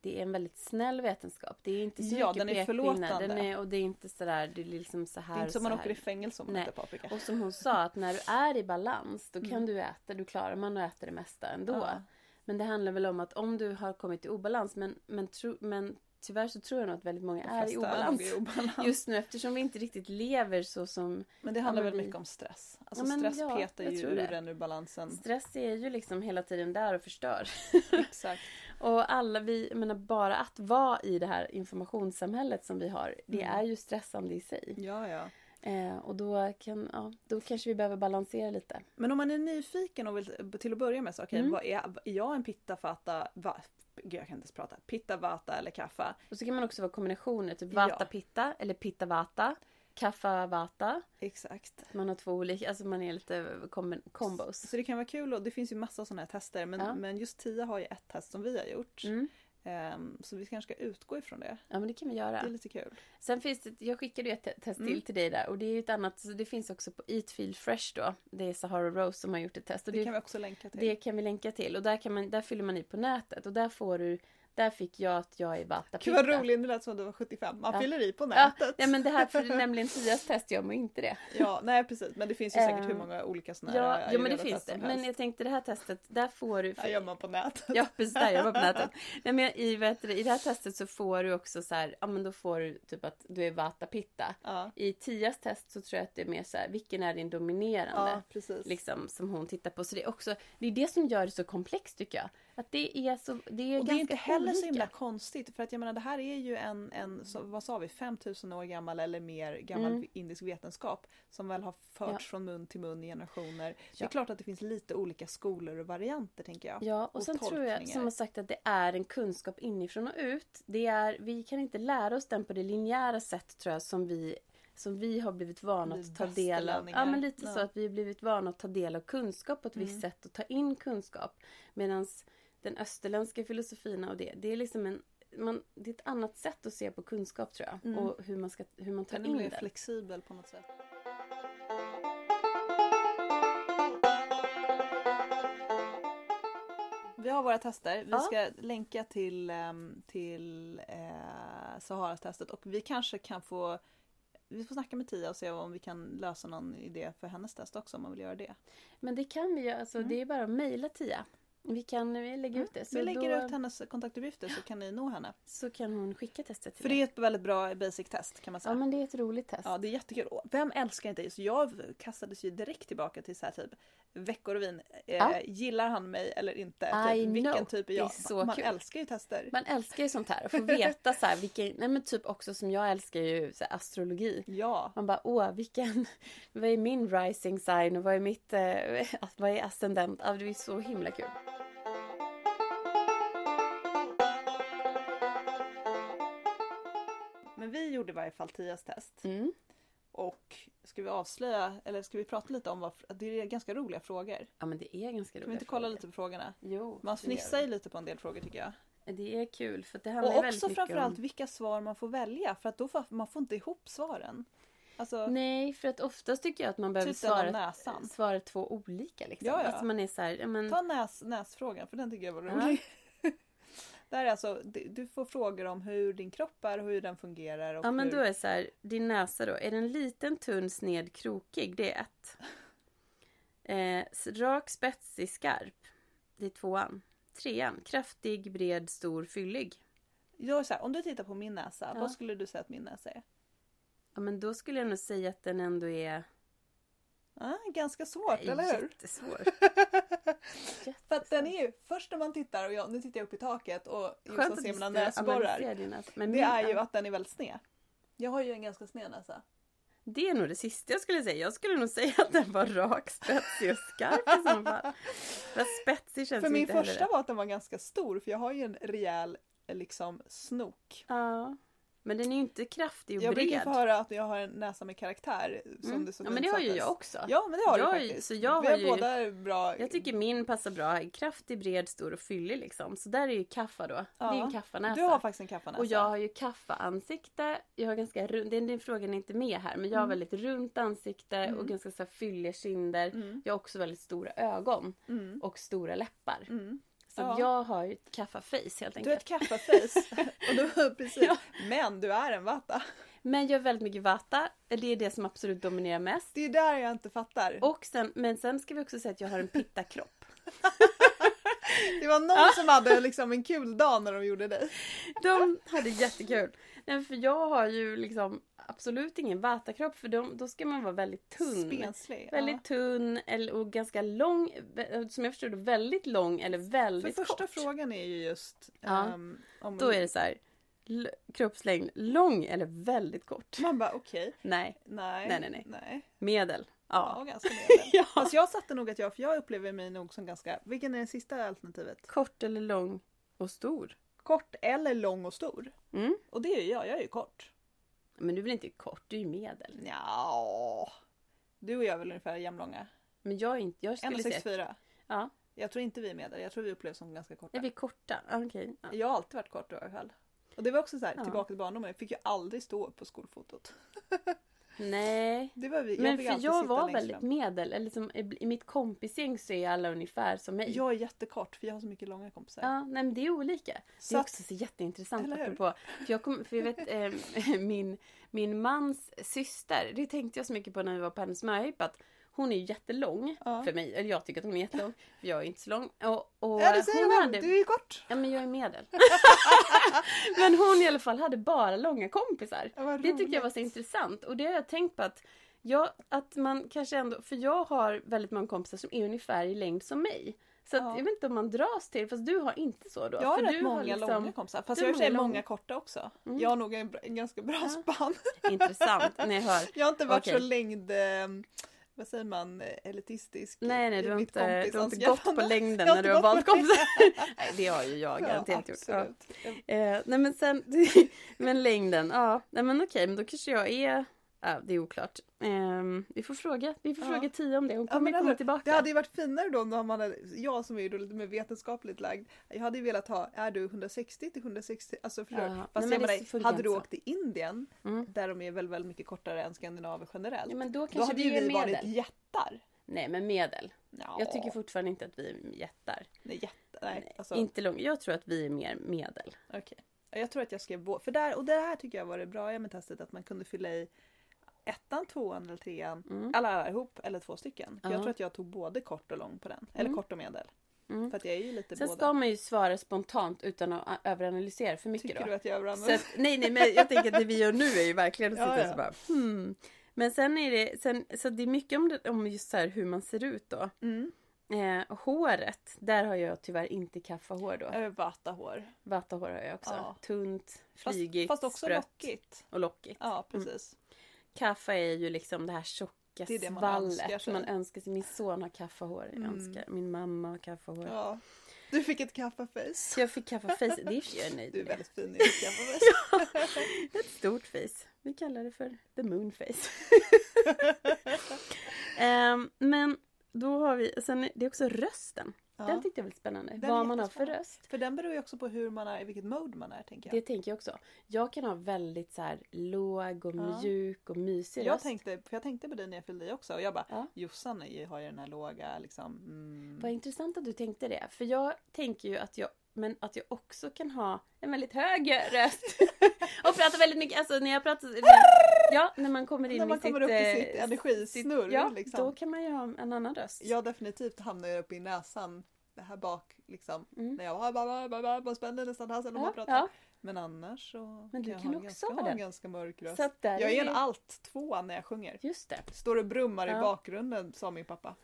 S1: det är en väldigt snäll vetenskap. Det är inte så
S2: Ja,
S1: mycket
S2: den är
S1: pekpinnar.
S2: förlåtande.
S1: Den är, och det är inte sådär, det är liksom så här
S2: Det är inte som
S1: och
S2: man
S1: så här.
S2: åker i fängelse om man
S1: Nej.
S2: äter paprika.
S1: Och som hon sa, att när du är i balans, då kan
S2: Mm.
S1: du äta, då klarar man att äta det mesta ändå.
S2: Ja.
S1: Men det handlar väl om att om du har kommit i obalans, men, men, tro, men tyvärr så tror jag nog att väldigt många
S2: De
S1: är i
S2: flesta
S1: obalans.
S2: nog i obalans.
S1: Just nu eftersom vi inte riktigt lever så som
S2: Men det handlar
S1: men
S2: väl
S1: vi-
S2: mycket om stress. Alltså
S1: Ja, men
S2: stress
S1: ja,
S2: petar
S1: jag
S2: ju
S1: tror
S2: ur
S1: det.
S2: den ur balansen.
S1: Stress är ju liksom hela tiden där och förstör.
S2: Exakt.
S1: Och alla vi, jag menar bara att vara i det här informationssamhället som vi har, det
S2: Mm.
S1: är ju stressande i sig.
S2: Ja, ja.
S1: Eh, och då, kan, ja, då kanske vi behöver balansera lite.
S2: Men om man är nyfiken och vill till att börja med så, okej,
S1: Mm.
S2: vad är, är jag en pitta fata, va, gud jag kan inte ens prata, pitta vata eller kaffa?
S1: Och så kan man också vara kombinationer, typ
S2: Ja.
S1: vata pitta eller pitta vata, kaffa vata.
S2: Exakt.
S1: Man har två olika, alltså man är lite kombi- combos.
S2: Så det kan vara kul och det finns ju massa sådana här tester men,
S1: Ja.
S2: men just Tia har ju ett test som vi har gjort.
S1: Mm.
S2: Ehm, så vi kanske ska utgå ifrån det.
S1: Ja men det kan vi
S2: Det är
S1: göra.
S2: lite kul.
S1: Sen finns det, jag skickade ju ett te- test
S2: Mm.
S1: till till dig där och det är ju ett annat, så det finns också på Eatfield Fresh då. Det är Sahara Rose som har gjort ett test. Och
S2: Det
S1: det,
S2: kan vi också länka till.
S1: Det kan vi länka till och där, kan man, där fyller man i på nätet och där får du Där fick jag att jag är vata
S2: Gud vad roligt, det lät som att du var 75. Man
S1: Ja.
S2: fyller i på
S1: Ja,
S2: nätet.
S1: ja, men det här för det är nämligen Tias test gör man ju inte det.
S2: Ja, nej precis. Men det finns ju säkert hur
S1: Ehm,
S2: många olika sådana här
S1: Ja, jo men det
S2: ayurveda-test
S1: finns det.
S2: som
S1: Men
S2: helst.
S1: jag tänkte det här testet, där får du...
S2: Det gör man på nätet.
S1: Ja precis, där gör man på nätet. Nej, men i, vet du, I det här testet så får du också så här, ja men då får du typ att du är vata pitta.
S2: Ja,
S1: I Tias test så tror jag att det är mer så här, vilken är din dominerande?
S2: ja precis.
S1: Liksom som hon tittar på. Så det är också, det är det som gör det så komplext tycker jag. Att det är så, det är
S2: och det
S1: ganska
S2: är inte heller
S1: olika.
S2: så himla konstigt för att jag menar det här är ju en, en så, vad sa vi, 5000 år gammal eller mer gammal
S1: Mm.
S2: indisk vetenskap som väl har förts
S1: Ja.
S2: från mun till mun i generationer. Det är
S1: Ja.
S2: klart att det finns lite olika skolor och varianter tänker jag.
S1: Ja, och,
S2: och
S1: sen tror jag
S2: tolkningar.
S1: som har sagt att det är en kunskap inifrån och ut. Det är, vi kan inte lära oss den på det linjära sätt tror jag som vi, som vi har blivit vana
S2: Vi
S1: att ta del av.
S2: västerlänningar.
S1: Ja, men lite
S2: Ja.
S1: så att vi har blivit vana att ta del av kunskap på ett
S2: Mm.
S1: visst sätt och ta in kunskap. Medan den österländska filosofin och det, det är liksom en man, det är ett annat sätt att se på kunskap tror jag.
S2: Mm.
S1: Och hur man, ska, hur man tar
S2: Den är
S1: in
S2: mer
S1: det.
S2: flexibel på något sätt. Vi har våra tester. Vi
S1: Ja.
S2: ska länka till, ehm, till eh, Sahara-testet och vi kanske kan få vi får snacka med Tia och se om vi kan lösa någon idé för hennes test också om man vill göra det.
S1: Men det kan vi göra, alltså,
S2: Mm.
S1: det är bara att mejla Tia. Vi kan vi lägga ut det. Så,
S2: vi lägger
S1: då,
S2: ut hennes kontaktuppgifter så kan ni nå henne.
S1: så kan hon skicka testet till
S2: För det
S1: dig.
S2: är ett väldigt bra basic-test kan man säga.
S1: Ja men det är ett roligt test.
S2: Ja, det är jättekul. Och Vem älskar inte det? Så jag kastades ju direkt tillbaka till så här typ Veckorevyn. Eh,
S1: Ja.
S2: Gillar han mig eller inte?
S1: I
S2: Typ, vilken
S1: know.
S2: typ är
S1: Det är
S2: jag?
S1: så
S2: Man
S1: kul.
S2: älskar ju tester.
S1: Man älskar ju sånt här och få veta så här vilken, nej men typ också som jag älskar ju så här, astrologi.
S2: Ja.
S1: Man bara åh vilken, vad är min rising sign och vad är mitt, eh, vad är ascendent? Ja, det är så himla kul.
S2: Men vi gjorde i varje fall Tias test.
S1: Mm.
S2: Och ska vi avslöja, eller ska vi prata lite om vad, det är ganska roliga frågor. Kan
S1: Ja men det är ganska roligt.
S2: vi inte kolla lite på frågorna?
S1: Jo.
S2: Man
S1: det gör
S2: fnissar ju lite på en del frågor tycker jag.
S1: vi. Det är kul för det handlar ju
S2: Och
S1: väldigt
S2: också
S1: mycket
S2: framförallt
S1: om...
S2: vilka svar man får välja för att då får man får inte ihop svaren. Alltså,
S1: Nej, för att oftast tycker jag att man behöver
S2: Typ den om
S1: svara,
S2: näsan.
S1: svara två olika liksom.
S2: Ja, ja.
S1: Alltså man är så här, ja men...
S2: Ta näs, näsfrågan för den tycker jag var
S1: Ja.
S2: rolig. Det här är alltså, du du får frågor om hur din kropp är, hur den fungerar och
S1: Ja men
S2: hur...
S1: då är det så här, din näsa då, är den liten, tunn, sned, krokig? Det är ett. Eh, s- rak, spetsig, skarp? Det är tvåan. Trean, kraftig, bred, stor, fyllig?
S2: Jag är så här, om du tittar på min näsa,
S1: Ja.
S2: vad skulle du säga att min näsa är?
S1: Ja men då skulle jag nog säga att den ändå är...
S2: Ah, ganska svårt,
S1: är
S2: eller hur?
S1: Jättesvår.
S2: För att den är ju, först när man tittar, och jag, nu tittar jag upp i taket och just
S1: Skönt
S2: att
S1: att
S2: se
S1: du
S2: mina
S1: sitter och
S2: näsborrar.
S1: analyserar din näsa. Men
S2: Det
S1: min-
S2: är ju att den är väldigt sned. Jag har ju en ganska sned näsa.
S1: Det är nog det sista jag skulle säga. Jag skulle nog säga att den var rak, spetsig och skarp i så fall. Men spetsig känns
S2: För
S1: ju
S2: min
S1: inte heller
S2: första
S1: rätt.
S2: var att den var ganska stor för jag har ju en rejäl eh, liksom snok.
S1: Ja. Men den är ju inte kraftig och
S2: Jag brukar
S1: bred.
S2: få höra att jag har en näsa med karaktär som
S1: Mm.
S2: det så
S1: ja, men det har ju
S2: fint
S1: jag
S2: sattes.
S1: också.
S2: Ja men det har
S1: Jag
S2: du
S1: är ju-
S2: faktiskt.
S1: så jag
S2: Vi
S1: har
S2: har
S1: ju-
S2: båda bra.
S1: Jag tycker min passar bra. Kraftig, bred, stor och fyllig liksom. Så där är ju kaffa då. Det är
S2: Ja.
S1: ju en kaffanäsa.
S2: Du har faktiskt en kaffanäsa.
S1: Och jag har ju kaffaansikte. Jag har ganska rund, den, den frågan är inte med här, men jag har
S2: Mm.
S1: väldigt runt ansikte
S2: Mm.
S1: och ganska så här fylliga kinder.
S2: Mm.
S1: Jag har också väldigt stora ögon
S2: Mm.
S1: och stora läppar.
S2: Mm.
S1: Så
S2: Ja.
S1: jag har ju ett kaffaface helt
S2: Du är
S1: enkelt.
S2: ett kaffaface. och du, precis.
S1: Ja.
S2: Men du är en vata.
S1: Men jag har väldigt mycket vata. Det är det som absolut dominerar mest.
S2: Det är där jag inte fattar.
S1: Och sen, men sen ska vi också säga att jag har en pittakropp.
S2: Det var någon som hade liksom en kul dag när de gjorde dig.
S1: De hade jättekul. Nej, men för jag har ju liksom absolut ingen vatakropp för de, då ska man vara väldigt tunn.
S2: Spenslig.
S1: Väldigt tunn eller- och ganska lång, som jag förstod det, väldigt lång eller
S2: ja. För
S1: väldigt
S2: första
S1: kort.
S2: frågan är ju just
S1: Ja.
S2: ehm, om
S1: Då är det så här, l- kroppslängd, lång eller väldigt kort?
S2: Man bara okej,
S1: Nej,
S2: nej,
S1: Nej, nej, nej.
S2: nej.
S1: medel.
S2: Ja,
S1: Ja.
S2: ganska medel.
S1: ja.
S2: Alltså jag satte nog att jag, för jag upplever mig nog som ganska, vilken är det sista alternativet?
S1: Kort eller lång och stor.
S2: Kort eller lång och stor.
S1: Mm.
S2: Och det är ju jag, jag är ju kort.
S1: Men du är väl inte kort, du är ju medel.
S2: Ja. Du och jag är väl ungefär jämnlånga?
S1: Men jag är inte, jag skulle säga...
S2: 1,64.
S1: Ja,
S2: Jag tror inte vi är medel, jag tror vi upplevs som ganska korta.
S1: är vi korta? Ah, Okej. Ja.
S2: Jag har alltid varit kort i alla fall. Och det var också så här,
S1: Ja.
S2: tillbaka till barndomen, jag fick ju aldrig stå upp på skolfotot.
S1: Nej.
S2: Det var vi, jag
S1: Men
S2: fick
S1: för
S2: alltid
S1: jag
S2: sitta
S1: var
S2: längst
S1: väldigt
S2: fram.
S1: medel, eller som i mitt kompisgäng så är alla ungefär som mig.
S2: Jag är jättekort för jag har så mycket långa kompisar.
S1: Ja, nej men det är olika. Det
S2: Så
S1: är
S2: att-
S1: också så jätteintressant
S2: Eller hur?
S1: apropå. För jag, kom, för jag vet eh, min, min mans syster, det tänkte jag så mycket på när vi var på hennes möhippa att hon är ju jättelång
S2: Ja.
S1: för mig, eller jag tycker att hon är jättelång, för jag är inte så lång. Och, och
S2: Ja, det säger
S1: hon
S2: hon,
S1: hade,
S2: du är ju kort.
S1: Ja men jag är medel. men hon i alla fall hade bara långa kompisar.
S2: Ja, vad
S1: Det tyckte jag
S2: roligt.
S1: var så intressant och det har jag tänkt på att jag, att man kanske ändå, för jag har väldigt många kompisar som är ungefär i längd som mig. Så att,
S2: Ja.
S1: jag vet inte om man dras till, fast du har liksom- inte så då?
S2: Jag har
S1: för
S2: rätt
S1: du
S2: många långa kompisar, fast
S1: du har
S2: jag har i och för sig
S1: många långa.
S2: många korta också. Jag har nog en, bra- en ganska bra
S1: Ja.
S2: spann.
S1: Intressant, när jag hör.
S2: Jag har inte varit så
S1: Okej.
S2: längd... eh, Vad säger man? eh, Elitistisk.
S1: Nej nej,
S2: i
S1: du har
S2: mitt
S1: inte, du har inte gått
S2: kompisanskaffande.
S1: på längden
S2: Jag
S1: när
S2: har
S1: du
S2: inte
S1: har valt
S2: gått på längden.
S1: kompisar. nej det har ju jag garanterat gjort. Ja.
S2: absolut. Jag-
S1: Eh, nej men sen, men längden, ja. Nej men okej, men då kanske jag är, ja, det är oklart. Ehm, vi får fråga, vi får
S2: Ja.
S1: fråga Tia om det, hon
S2: Ja,
S1: kommer
S2: men
S1: komma
S2: alltså,
S1: tillbaka.
S2: Det hade ju varit finare då om man hade, jag som är ju då lite mer vetenskapligt lagd, jag hade ju velat ha, är du 160 till 160, alltså förstår du?
S1: Ja. Nej,
S2: Fast
S1: men
S2: jag
S1: det
S2: menar,
S1: funkar
S2: hade
S1: inte
S2: du
S1: så.
S2: åkt till Indien,
S1: Mm.
S2: där de är väl, väl mycket kortare än skandinaver generellt,
S1: ja, men då
S2: då
S1: kanske
S2: hade
S1: vi
S2: ju
S1: är
S2: vi
S1: medel.
S2: varit jättar.
S1: Nej men medel.
S2: Ja,
S1: Jag tycker fortfarande inte att vi är jättar.
S2: nej, jättar, nej, alltså,
S1: Inte lång. Jag tror att vi är mer medel.
S2: okej. Jag tror att jag skrev vå- för där, och det här tycker jag var det bra med testet, att man kunde fylla i ettan, tvåan eller trean,
S1: Mm.
S2: alla, alla ihop, eller två stycken. För Jag
S1: Ja.
S2: tror att jag tog både kort och lång på den, eller
S1: Mm.
S2: kort och medel.
S1: Mm.
S2: För att jag är ju lite
S1: Sen
S2: båda.
S1: ska man ju svara spontant utan att a- överanalysera för mycket
S2: Tycker
S1: då.
S2: du att jag
S1: Så
S2: överanvänder?
S1: att, nej, nej, men jag tänker att det vi gör nu är ju verkligen att
S2: Ja,
S1: sitta
S2: ja.
S1: så bara hmm. Men sen är det, sen, så det är mycket om, det, om just så här hur man ser ut då.
S2: Mm.
S1: Eh, håret, där har jag tyvärr inte kaffahår då.
S2: Över vata hår.
S1: Vatahår har jag också.
S2: Ja.
S1: Tunt,
S2: Fast,
S1: flygigt,
S2: fast också
S1: sprött Mm.
S2: lockigt.
S1: och lockigt.
S2: Ja, precis.
S1: Kaffe är ju liksom det här tjocka
S2: Det är det man
S1: svallet.
S2: önskar sig.
S1: man önskar sig. Min son har kaffahår. Jag
S2: Mm.
S1: önskar, min mamma har kaffahår.
S2: Ja. Du fick ett kaffeface.
S1: Så jag fick kaffaface. Det är i och för sig jag är nöjd
S2: Du är
S1: med. Det.
S2: väldigt fin i ditt kaffeface.
S1: Ett stort face. Vi kallar det för the moon face. Ehm, men då har vi, sen det är också rösten. Den
S2: Ja.
S1: tyckte jag var lite spännande.
S2: Den är
S1: Vad man har för
S2: jättespännande.
S1: röst.
S2: För den beror ju också på hur man är, i vilket mode man är tänker
S1: Det
S2: jag.
S1: tänker jag också. Jag kan ha väldigt så här låg och
S2: Ja.
S1: mjuk och mysig
S2: Jag
S1: röst.
S2: tänkte, för jag tänkte på dig när jag fyllde i också och jag bara
S1: Ja.
S2: Jossan är ju- har ju den här låga liksom mm.
S1: Vad intressant att du tänkte det. För jag tänker ju att jag, men att jag också kan ha en väldigt hög röst. och prata väldigt mycket, alltså när jag pratar... när- ja, när man kommer in
S2: När man
S1: i
S2: kommer
S1: sitt,
S2: upp i
S1: eh,
S2: sitt energisnurr
S1: Ja,
S2: liksom.
S1: då kan man ju ha en annan röst.
S2: Jag definitivt hamnar ju uppe i näsan det här bak liksom.
S1: Mm.
S2: När jag bara, bara, bara, bara, bara spänner nästan halsen när man
S1: ja,
S2: pratar.
S1: ja.
S2: Men annars så
S1: Men du
S2: jag
S1: kan
S2: ha en
S1: också
S2: ganska,
S1: ha
S2: ha en
S1: den.
S2: ganska mörk röst.
S1: Så att där
S2: Jag är en
S1: det-
S2: alt tvåa när jag sjunger.
S1: Just det.
S2: Står och brummar i
S1: Ja.
S2: bakgrunden sa min pappa.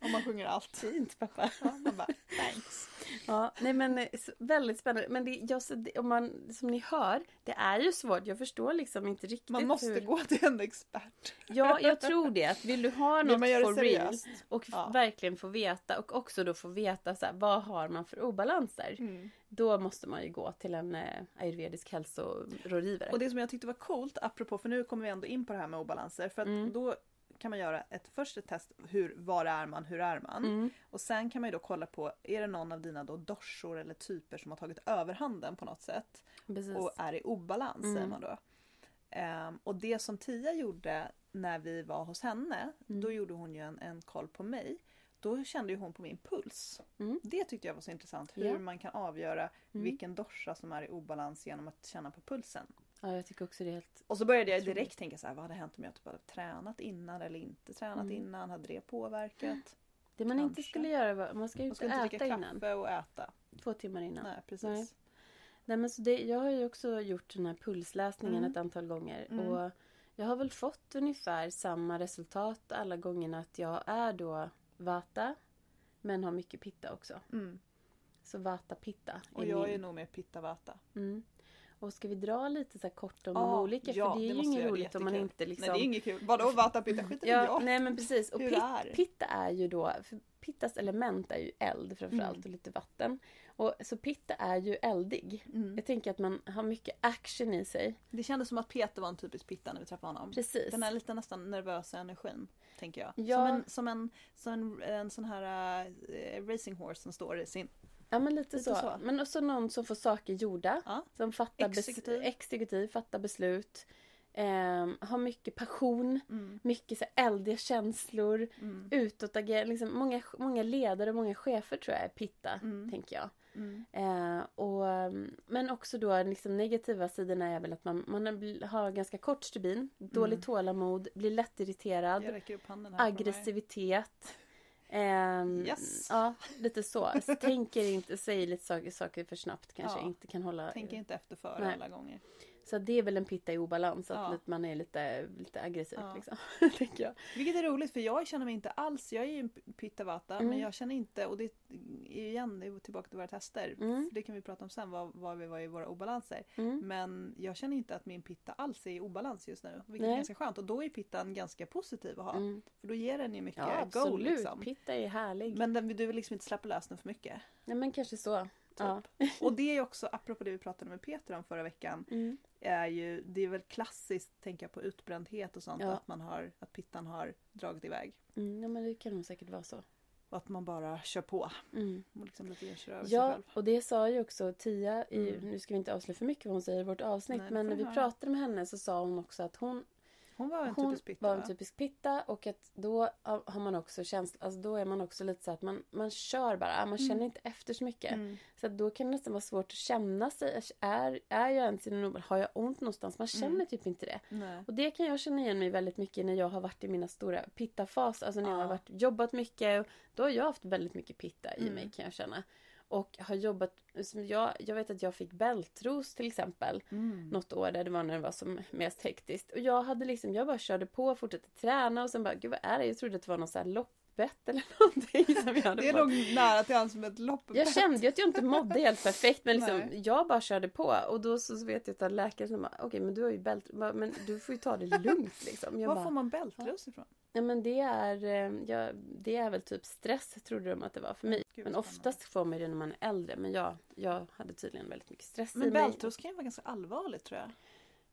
S2: Om man sjunger alt.
S1: Fint pappa.
S2: Ja, man bara, thanks.
S1: Ja, nej men eh, s- väldigt spännande. Men det, jag, så det- om man, som ni hör, det är ju svårt. Jag förstår liksom inte riktigt
S2: Man måste
S1: hur...
S2: gå till en expert.
S1: Ja, jag tror det. Att Vill du ha något
S2: Vill man göra
S1: for
S2: det
S1: real
S2: seriöst?
S1: och f-
S2: Ja.
S1: verkligen få veta och också då få veta så här, vad har man för obalanser?
S2: Mm.
S1: Då måste man ju gå till en eh, ayurvedisk hälsorådgivare.
S2: Och det som jag tyckte var coolt, apropå, för nu kommer vi ändå in på det här med obalanser, för att
S1: Mm.
S2: då kan man göra ett första test, hur, var är man, hur är man?
S1: Mm.
S2: Och sen kan man ju då kolla på, är det någon av dina då dorsor eller typer som har tagit överhanden på något sätt?
S1: Precis.
S2: och är i obalans
S1: Mm.
S2: säger man då. Ehm, och det som Tia gjorde när vi var hos henne,
S1: Mm.
S2: då gjorde hon ju en, en koll på mig. Då kände ju hon på min puls.
S1: Mm.
S2: Det tyckte jag var så intressant, hur
S1: Ja.
S2: man kan avgöra
S1: Mm.
S2: vilken dorsa som är i obalans genom att känna på pulsen.
S1: Ja, jag tycker också det är helt...
S2: Och så började jag
S1: Otroligt.
S2: direkt tänka så här, vad hade hänt om jag typ hade tränat innan eller inte tränat
S1: Mm.
S2: innan? Hade det påverkat?
S1: Det man inte
S2: Kanske.
S1: skulle göra, var- man ska ju
S2: Man
S1: inte
S2: ska inte
S1: äta
S2: dricka
S1: innan.
S2: kaffe och äta.
S1: Två timmar innan.
S2: Nej, precis.
S1: Nej. Nej, men så det, jag har ju också gjort den här pulsläsningen
S2: Mm.
S1: ett antal gånger.
S2: Mm.
S1: Och jag har väl fått ungefär samma resultat alla gångerna att jag är då Vata. Men har mycket pitta också.
S2: Mm.
S1: Så Vata Pitta. är
S2: Och jag
S1: min.
S2: är nog mer pitta-vata.
S1: Mm. Och ska vi dra lite så här kort om de
S2: Ja,
S1: olika?
S2: ja,
S1: för det
S2: det
S1: är ju
S2: måste jag
S1: inget
S2: göra, det är
S1: roligt om man
S2: jättekul.
S1: inte liksom...
S2: Nej det är inget kul. Vadå vata pitta? Skiter
S1: ja,
S2: jag
S1: nej men precis. Och
S2: hur
S1: pit,
S2: det är.
S1: pitta är ju då, för pittas element är ju eld framförallt
S2: Mm.
S1: och lite vatten. Och, så pitta är ju eldig.
S2: Mm.
S1: Jag tänker att man har mycket action i sig.
S2: Det kändes som att Peter var en typisk pitta när vi träffade honom.
S1: Precis.
S2: Den här lite nästan nervösa energin, tänker jag.
S1: Ja.
S2: Som, en, som, en, som en, en sån här eh, racing horse som står i sin...
S1: Ja men lite,
S2: Lite
S1: så.
S2: så.
S1: Men också någon som får saker gjorda.
S2: Ja.
S1: Som fattar bes-
S2: Exekutiv.
S1: exekutiv fattar beslut. ehm, har mycket passion.
S2: Mm,
S1: Mycket så här eldiga känslor.
S2: mm,
S1: Utåtagerande. Liksom, många, många ledare och många chefer tror jag är pitta.
S2: Mm.
S1: Tänker jag.
S2: mm,
S1: Eh, och, mm, men också då liksom negativa sidorna är väl att man, man har- har ganska kort stubin. Dåligt
S2: Mm.
S1: tålamod. Blir lätt irriterad.
S2: Jag räcker upp handen här.
S1: aggressivitet. Ehm,
S2: Yes.
S1: Ja, lite så. Så Tänker inte, säger lite saker, saker för snabbt kanske.
S2: Ja.
S1: Inte kan hålla.
S2: Tänker inte efter före
S1: Nej.
S2: alla gånger.
S1: Så det är väl en pitta i obalans. Att
S2: Ja.
S1: lite- man är lite, lite aggressiv
S2: Ja.
S1: liksom. tänker jag.
S2: Vilket är roligt för jag känner mig inte alls, jag är ju en pittavata
S1: Mm.
S2: men jag känner inte, och det är igen det är tillbaka till våra tester,
S1: Mm.
S2: för det kan vi prata om sen vad, vad vi var i våra obalanser.
S1: Mm.
S2: Men jag känner inte att min pitta alls är i obalans just nu, vilket
S1: Nej.
S2: är ganska skönt och då är pittan ganska positiv att ha.
S1: Mm.
S2: För då ger den ju mycket
S1: Ja,
S2: go
S1: absolut.
S2: liksom.
S1: Pitta är härlig.
S2: Men den, du vill liksom inte släppa lös den för mycket.
S1: Nej, men kanske så.
S2: Typ.
S1: Ja.
S2: Och det är ju också, apropå det vi pratade med Peter om förra veckan,
S1: Mm.
S2: är ju, det är väl klassiskt, tänka på utbrändhet och sånt,
S1: Ja.
S2: att, man har, att pittan har dragit iväg.
S1: Mm. Ja, men det kan nog säkert vara så.
S2: Och att man bara kör på
S1: Mm.
S2: och liksom lite kör över sig
S1: Ja,
S2: själv.
S1: och det sa ju också Tia, i,
S2: Mm.
S1: nu ska vi inte avslöja för mycket vad hon säger i vårt avsnitt,
S2: Nej, det
S1: men
S2: får
S1: när
S2: vi
S1: vi
S2: höra.
S1: pratade med henne så sa hon också att hon
S2: Hon var en
S1: hon
S2: typisk pitta
S1: var
S2: va?
S1: en typisk pitta och att då har man också känsla, alltså då är man också lite så att man, man kör bara, man känner inte efter så mycket.
S2: Mm.
S1: Så att då kan det nästan vara svårt att känna sig, är, är jag ens i en obal- har jag ont någonstans? Man känner
S2: Mm.
S1: typ inte det.
S2: Nej.
S1: Och det kan jag känna igen mig väldigt mycket när jag har varit i mina stora pittafas, alltså när jag har
S2: Ja.
S1: varit, jobbat mycket. Då har jag haft väldigt mycket pitta i
S2: Mm.
S1: mig kan jag känna. Och har jobbat, som jag, jag vet att jag fick bältros till exempel
S2: Mm.
S1: något år där det var när det var som mest hektiskt. Och jag hade liksom, jag bara körde på, fortsatte träna och sen bara, gud vad är det? Jag trodde att det var någon sån här loppbett eller någonting som jag hade
S2: Det
S1: fått.
S2: låg nära till hands som ett lopp.
S1: Jag kände ju att jag inte mådde helt perfekt men
S2: Nej.
S1: liksom, jag bara körde på och då så så vet jag att läkaren som bara, okej men du har ju bält, bara, men du får ju ta det lugnt liksom. Jag
S2: Var får
S1: bara,
S2: man bältros ifrån?
S1: ja men det är, eh, ja, det är väl typ stress trodde de att det var för mig.
S2: Gud,
S1: Men
S2: spännande.
S1: oftast får man ju det när man är äldre men jag, jag hade tydligen väldigt mycket stress i
S2: Men
S1: mig.
S2: bältros kan ju vara ganska allvarligt tror jag.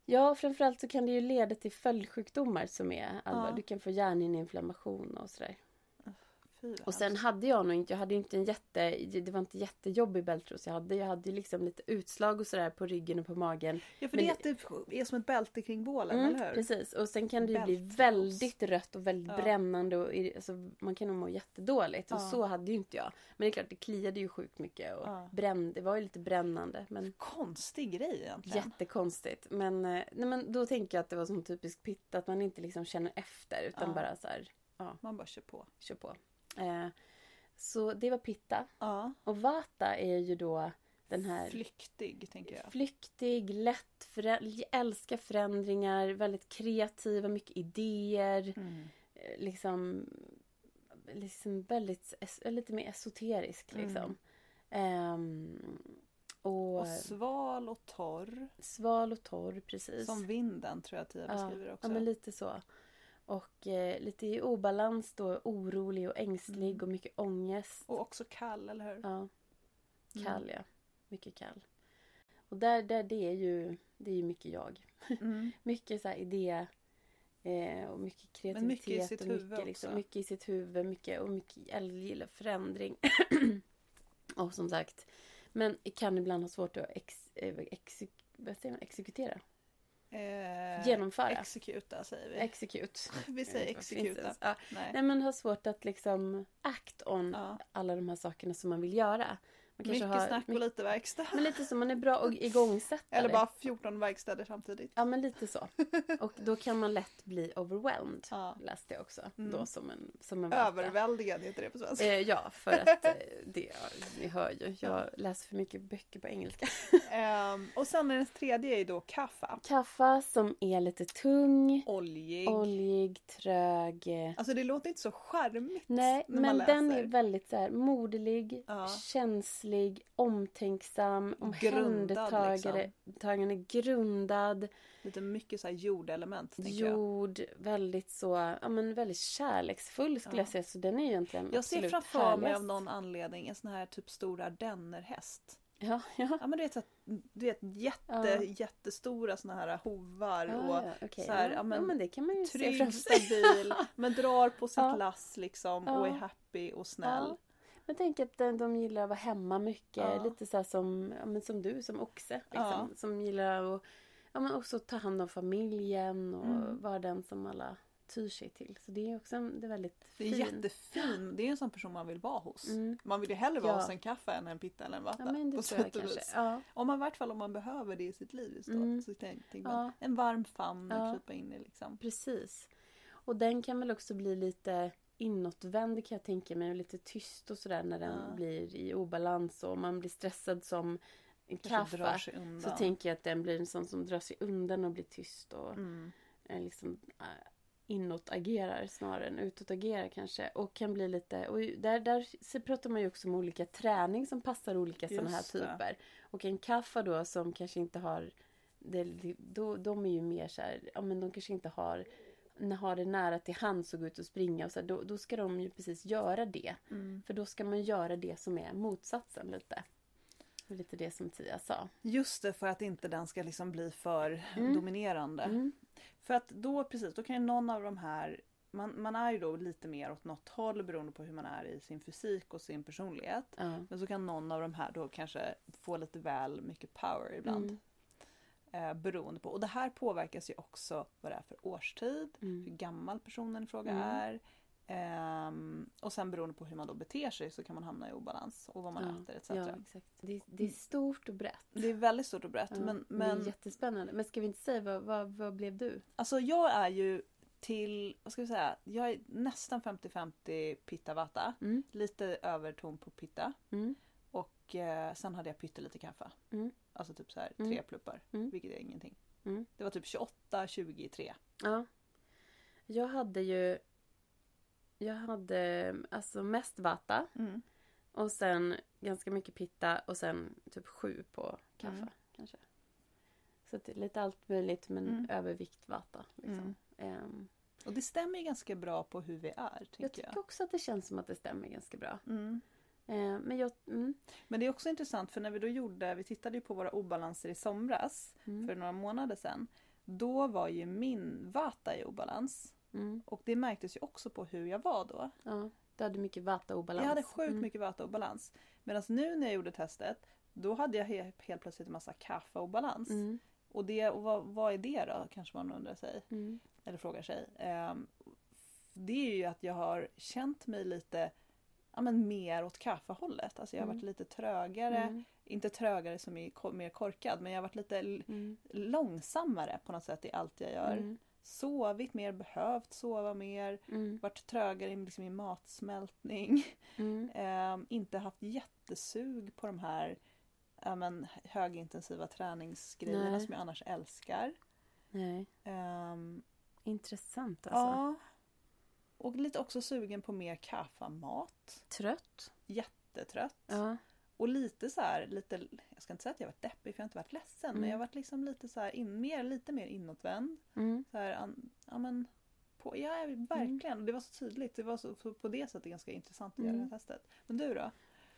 S1: Ja, framförallt så kan det ju leda till följdsjukdomar som är allvar.
S2: Ja.
S1: Du kan få hjärnhinneinflammation och sådär.
S2: Fy, vad
S1: Och sen
S2: hemskt.
S1: hade jag nog inte, jag hade inte en jätte, det var inte jättejobbig bältros jag hade. Jag hade ju liksom lite utslag och sådär på ryggen och på magen.
S2: Ja för
S1: Men Mm,
S2: det är att det är som ett bälte kring bålen, eller hur?
S1: precis, och sen kan det ju bli
S2: Bältros.
S1: väldigt rött och väldigt
S2: Ja.
S1: brännande och ir- alltså, man kan nog må jättedåligt. Och
S2: Ja.
S1: så hade ju inte jag. Men det är klart, det kliade ju sjukt mycket och
S2: Ja.
S1: brände, det var ju lite brännande. Men
S2: Konstig grej egentligen.
S1: Jättekonstigt. Men, eh, nej, men då tänker jag att det var som typiskt pitta, att man inte liksom känner efter utan
S2: Ja.
S1: bara så här,
S2: Man bara kör på.
S1: kör på. Eh, så det var pitta.
S2: Ja.
S1: Och vata är ju då den här
S2: Flyktig tänker jag.
S1: flyktig, lätt, förä- älskar förändringar, väldigt kreativa, mycket idéer.
S2: Mm.
S1: eh, Liksom, liksom väldigt, es- lite mer esoterisk liksom. Ehm, och,
S2: Mm. Och sval och torr.
S1: sval och torr, precis.
S2: Som vinden tror jag Tia beskriver det
S1: ja,
S2: också.
S1: men lite så. Och eh, lite i obalans då, orolig och ängslig
S2: Mm.
S1: och mycket ångest.
S2: Och också kall, eller hur?
S1: Ja,
S2: Mm.
S1: kall ja. Mycket kall. Och där, där det är ju, det är ju mycket jag.
S2: Mm.
S1: Mycket så här idé eh, och mycket kreativitet.
S2: Men mycket i sitt
S1: och
S2: huvud
S1: mycket, liksom,
S2: också.
S1: mycket i sitt huvud. Mycket, och mycket, jag gillar förändring. och som sagt, men kan ibland ha svårt att ex, eh, exek, vad säger man, exekutera.
S2: Eh,
S1: Genomföra.
S2: Exekuta säger vi.
S1: Execute.
S2: vi
S1: Jag vet
S2: säger
S1: inte vad finns det
S2: exekuta.
S1: ens. Ja.
S2: Nej.
S1: Nej men har svårt att liksom act on
S2: Ja.
S1: alla de här sakerna som man vill göra. Man kanske
S2: Mycket
S1: har
S2: snack och
S1: mycket-
S2: lite verkstad.
S1: Men lite så, man är bra och igångsättare.
S2: Eller bara 14 verkstäder samtidigt.
S1: Ja, men lite så. Och då kan man lätt bli overwhelmed.
S2: Ja.
S1: Läste jag också.
S2: Mm.
S1: Då som en, som en valp, ja.
S2: Överväldigande heter det på svenska.
S1: Eh, ja, för att eh, det, ni hör ju. Jag läser för mycket böcker på engelska.
S2: Ehm, och sen den tredje är då kaffe.
S1: Kaffa som är lite tung,
S2: Oljig.
S1: oljig, trög. eh,
S2: Alltså det låter inte så charmigt.
S1: Nej,
S2: när man
S1: men den
S2: läser.
S1: är väldigt så här moderlig,
S2: Ja.
S1: känslig, omtänksam,
S2: Grundad, liksom.
S1: omhändertagande, tagane, grundad.
S2: Lite mycket så här jordelement tänker jag.
S1: Jord, väldigt så, ja men väldigt kärleksfull skulle
S2: Ja.
S1: jag säga. Så den är ju egentligen
S2: Jag ser
S1: absolut
S2: framför mig
S1: härligast.
S2: av någon anledning en sån här typ stor ardennerhäst.
S1: Ja, ja.
S2: Ja men du vet, så att, du vet jätte,
S1: Ja.
S2: jättestora såna här hovar
S1: Ah,
S2: och
S1: ja, okej.
S2: så här,
S1: ja,
S2: ja, men
S1: ja, men det kan man ju se
S2: trygg,
S1: framför sig.
S2: stabil, men drar på sitt
S1: Ja.
S2: lass liksom
S1: Ja.
S2: och är happy och snäll.
S1: Ja. Jag tänker att de, de gillar att vara hemma mycket.
S2: Ja.
S1: Lite så här som, ja, men som du, som oxe. Liksom,
S2: Ja.
S1: Som gillar att ja, men också ta hand om familjen och
S2: Mm.
S1: vara den som alla tyr sig till. Så det är också en, det är väldigt
S2: Det är
S1: fint.
S2: jättefin, det är en sån person man vill vara hos.
S1: Mm.
S2: Man vill ju hellre vara
S1: Ja.
S2: hos en kaffe än en pitta eller en vatten.
S1: Ja, men det
S2: på
S1: tror jag
S2: sätt och
S1: kanske.
S2: vis.
S1: Ja.
S2: Om man i vart fall om man behöver det i sitt liv just då.
S1: Mm.
S2: Så tänk, tänk
S1: Ja.
S2: man, en varm famn att
S1: Ja.
S2: krypa in i liksom.
S1: Precis. Och den kan väl också bli lite inåtvänd kan jag tänka mig och lite tyst och sådär när den
S2: Ja.
S1: blir i obalans och man blir stressad som en
S2: Kanske drar
S1: kaffe.
S2: sig
S1: Så
S2: undan.
S1: tänker jag att den blir en sån som drar sig undan och blir tyst och
S2: mm.
S1: eh, liksom eh, inåtagerar snarare än utåtagerar kanske. Och kan bli lite, och ju- där, där så pratar man ju också om olika träning som passar olika sådana här
S2: Just det.
S1: typer. Och en kaffa då som kanske inte har, det, det- då, de är ju mer så här, ja men de kanske inte har n- har det nära till hands och gå ut och springa och så här, då, då ska de ju precis göra det.
S2: Mm.
S1: För då ska man göra det som är motsatsen lite. Och lite det som Tia sa.
S2: Just det, för att inte den ska liksom bli för
S1: Mm.
S2: dominerande.
S1: Mm.
S2: För att då precis, då kan ju någon av de här man, man är ju då lite mer åt något håll beroende på hur man är i sin fysik och sin personlighet.
S1: Ja.
S2: Men så kan någon av de här då kanske få lite väl mycket power ibland.
S1: Mm.
S2: Eh, beroende på. Och det här påverkas ju också vad det är för årstid,
S1: Mm.
S2: hur gammal personen i fråga
S1: Mm.
S2: är. Ehm, och sen beroende på hur man då beter sig så kan man hamna i obalans och vad man
S1: Ja,
S2: äter etc.
S1: Ja, exakt. Det, det är stort och brett.
S2: Det är väldigt stort och brett
S1: Ja,
S2: men,
S1: Det är
S2: men
S1: jättespännande. Men ska vi inte säga vad, vad, vad blev du?
S2: alltså jag är ju till, vad ska vi säga, jag är nästan 50-50 pitta vata.
S1: Mm.
S2: Lite över tom på pitta.
S1: Mm.
S2: Och eh, sen hade jag pyttelite kaffe.
S1: Mm.
S2: Alltså typ så här
S1: Mm.
S2: tre pluppar,
S1: Mm.
S2: vilket är ingenting.
S1: Mm.
S2: Det var typ 28, 23.
S1: Ja. Jag hade ju... Jag hade alltså mest vata
S2: Mm.
S1: och sen ganska mycket pitta och sen typ sju på kaffe
S2: Mm.
S1: kanske. Så att det är lite allt möjligt men
S2: Mm.
S1: övervikt vata. Liksom.
S2: Mm.
S1: Ehm,
S2: Och det stämmer ju ganska bra på hur vi är,
S1: jag
S2: tänker jag.
S1: tycker också att det känns som att det stämmer ganska bra.
S2: Mm.
S1: Ehm, men jag... Mm,
S2: Men det är också intressant för när vi då gjorde, vi tittade ju på våra obalanser i somras
S1: mm,
S2: för några månader sedan. Då var ju min vata i obalans.
S1: mm,
S2: Och det märktes ju också på hur jag var då.
S1: ja. Du hade mycket vata-obalans.
S2: Jag hade sjukt
S1: Mm.
S2: mycket vata och balans. Medan nu när jag gjorde testet, då hade jag he- helt plötsligt en massa kaffe och balans.
S1: Mm,
S2: Och, det, och vad, vad är det då, kanske man undrar sig.
S1: mm,
S2: Eller frågar sig. Ehm, det är ju att jag har känt mig lite ja, men mer åt kaffehållet. Alltså jag har
S1: Mm.
S2: varit lite trögare.
S1: mm,
S2: Inte trögare som är ko- mer korkad, men jag har varit lite l-
S1: mm,
S2: långsammare på något sätt i allt jag gör.
S1: mm,
S2: Sovit mer, behövt sova mer.
S1: mm,
S2: Varit trögare i, liksom, i matsmältning.
S1: mm.
S2: Ehm, inte haft jättesug på de här ja, men, högintensiva träningsgrejerna
S1: Nej.
S2: som jag annars älskar.
S1: Nej,
S2: Ehm,
S1: intressant alltså.
S2: Ja. Och lite också sugen på mer kaffamat.
S1: Trött.
S2: Jättetrött.
S1: Ja.
S2: Och lite så här, lite, jag ska inte säga att jag varit deppig för jag har inte varit ledsen men
S1: Mm.
S2: jag har varit liksom lite så här in, mer, lite mer inåtvänd.
S1: Mm.
S2: Så här, an, ja men, på, ja verkligen. Och Det var så tydligt. Det var så, på- på det sättet ganska intressant att göra det
S1: Mm.
S2: här testet. Men du då?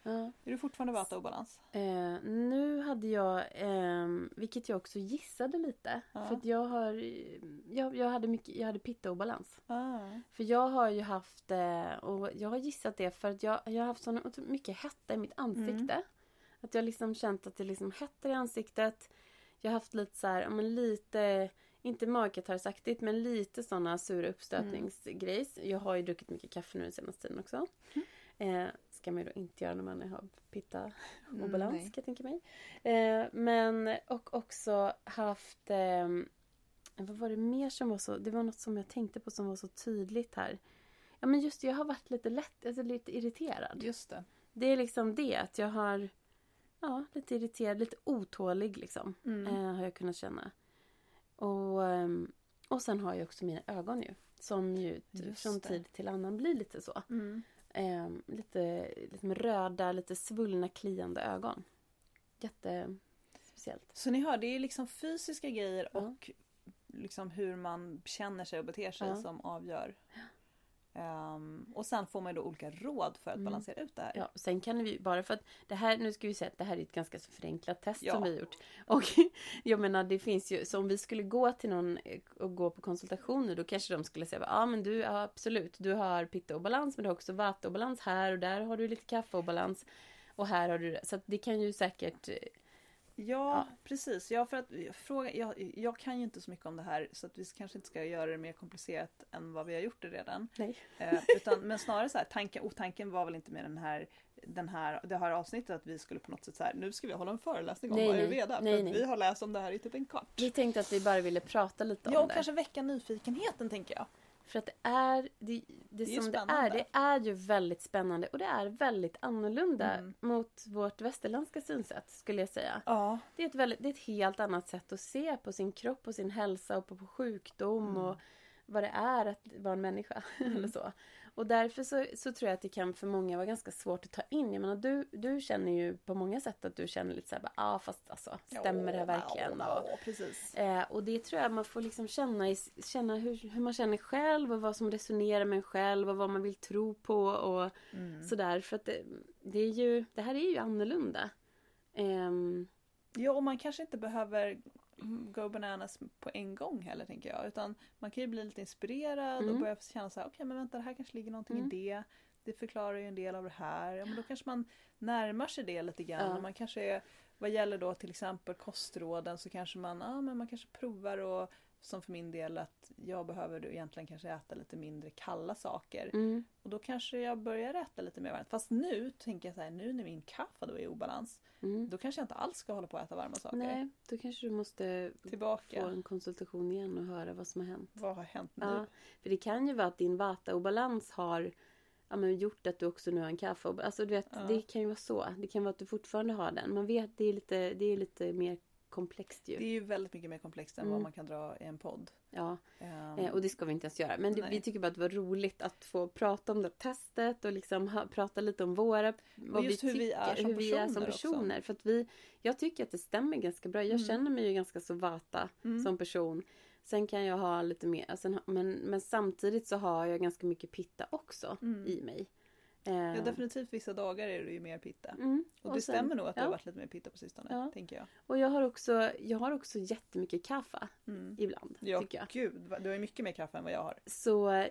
S1: Ja.
S2: Är du fortfarande vataobalans?
S1: Eh, nu hade jag, ehm, vilket jag också gissade lite,
S2: Ja.
S1: för att jag har, eh, jag, jag hade mycket, jag hade pitta-obalans.
S2: Ah.
S1: För jag har ju haft, eh, och jag har gissat det för att jag, jag har haft så otro- mycket hetta i mitt ansikte. Att jag liksom känt att det liksom hettar i ansiktet. Jag har haft lite så här, ja, men lite, inte magkatarsaktigt men lite sådana sura uppstötningsgrejs. Jag har ju druckit mycket kaffe nu den senaste tiden också. Eh, ska man ju då inte göra när man har pitta och balans kan jag tänka mig. Eh, men och också haft... Eh, vad var det mer som var så... Det var något som jag tänkte på som var så tydligt här. Ja men just det, jag har varit lite lätt, alltså lite irriterad.
S2: Just det.
S1: Det är liksom det att jag har... Ja, lite irriterad, lite otålig liksom.
S2: Mm.
S1: Eh, har jag kunnat känna. Och, ehm, och sen har jag också mina ögon ju. Som ju t-
S2: Just
S1: från
S2: det.
S1: tid till annan blir lite så.
S2: Mm.
S1: Eh, lite, lite med röda, lite svullna, kliande ögon. Jätte speciellt.
S2: Så ni hör, det är liksom fysiska grejer
S1: Ja.
S2: och liksom hur man känner sig och beter sig
S1: Ja.
S2: som avgör. Ehm, och sen får man ju då olika råd för att
S1: Mm.
S2: balansera ut det här.
S1: Ja, sen kan vi bara för att det här, nu ska vi säga att det här är ett ganska så förenklat test
S2: Ja.
S1: som vi har gjort. Och jag menar det finns ju, så om vi skulle gå till någon eh, och gå på konsultationer då kanske de skulle säga ja ah, men du ja, absolut, du har pitta-obalans men du har också vattenobalans här och där har du lite kaffeobalans. Och här har du det. Så att det kan ju säkert... eh,
S2: Ja, precis. Ja, för att fråga, jag, jag kan ju inte så mycket om det här så att vi kanske inte ska göra det mer komplicerat än vad vi har gjort det redan.
S1: Nej.
S2: Eh, utan, men snarare så här, tanken, och tanken var väl inte med den här, den här, det här avsnittet att vi skulle på något sätt så här, nu ska vi hålla en föreläsning om
S1: Nej, nej.
S2: ayurveda.
S1: Nej,
S2: för att
S1: nej.
S2: vi har läst om det här i typ en kvart.
S1: Vi tänkte att vi bara ville prata lite
S2: Ja,
S1: om
S2: och
S1: det.
S2: kanske väcka nyfikenheten tänker jag.
S1: För att det är det, det,
S2: är ju
S1: som det är,
S2: spännande.
S1: det är ju väldigt spännande och det är väldigt annorlunda
S2: Mm.
S1: mot vårt västerländska synsätt skulle jag säga.
S2: Ja,
S1: Det är, ett väldigt, det är ett helt annat sätt att se på sin kropp och sin hälsa och på, på sjukdom
S2: Mm.
S1: och vad det är att vara en människa. eller så. Och därför så, så tror jag att det kan för många vara ganska svårt att ta in. Jag menar, du, du känner ju på många sätt att du känner lite såhär, ja ah, fast alltså, stämmer det här verkligen?
S2: Ja,
S1: Och,
S2: ja, precis.
S1: Eh, och det tror jag man får liksom känna, i, känna hur, hur man känner själv och vad som resonerar med en själv och vad man vill tro på och
S2: Mm.
S1: sådär. För att det, det, är ju, det här är ju annorlunda. Ehm,
S2: Ja, och man kanske inte behöver go bananas på en gång heller tänker jag. Utan man kan ju bli lite inspirerad och
S1: Mm.
S2: börja känna så här, okej men vänta det här kanske ligger någonting
S1: Mm.
S2: i det. Det förklarar ju en del av det här. Ja, men då kanske man närmar sig det lite grann.
S1: Ja.
S2: Och man kanske är, vad gäller då till exempel kostråden så kanske man, ja men man kanske provar och som för min del att jag behöver då egentligen kanske äta lite mindre kalla saker.
S1: mm,
S2: Och då kanske jag börjar äta lite mer varmt. Fast nu tänker jag så här, nu när min kaffe då är i obalans,
S1: mm.
S2: då kanske jag inte alls ska hålla på att äta varma saker.
S1: Nej, då kanske du måste få
S2: Tillbaka.
S1: en konsultation igen och höra vad som har hänt.
S2: Vad har hänt nu?
S1: Ja, för det kan ju vara att din vataobalans har ja, men gjort att du också nu har en kaffeobalans. Alltså du vet,
S2: Ja.
S1: det kan ju vara så. Det kan vara att du fortfarande har den. Man vet, det är lite, det är lite mer komplext ju.
S2: Det är ju väldigt mycket mer komplext än vad
S1: Mm.
S2: man kan dra i en podd.
S1: Ja.
S2: Ehm,
S1: Eh, Och det ska vi inte ens göra. Men det,
S2: Nej.
S1: vi tycker bara att det var roligt att få prata om det här testet och liksom ha, prata lite om våra... Vad
S2: just
S1: vi
S2: hur
S1: tycker,
S2: vi är som
S1: hur vi är som
S2: personer också.
S1: personer. För att vi, jag tycker att det stämmer ganska bra. Jag
S2: Mm.
S1: känner mig ju ganska så vata
S2: Mm.
S1: som person. Sen kan jag ha lite mer, och sen, ha- men, men samtidigt så har jag ganska mycket pitta också
S2: Mm.
S1: i mig. Eh,
S2: ja, definitivt vissa dagar är det ju mer pitta.
S1: mm,
S2: Och, det
S1: sen-
S2: stämmer nog att det
S1: ja.
S2: har varit lite mer pitta på sistone,
S1: Ja.
S2: tänker jag.
S1: Och jag har också, jag har också jättemycket kaffe
S2: Mm.
S1: ibland.
S2: Ja,
S1: Tycker jag.
S2: gud, vad- du har ju mycket mer kaffe än vad jag har.
S1: Så... eh,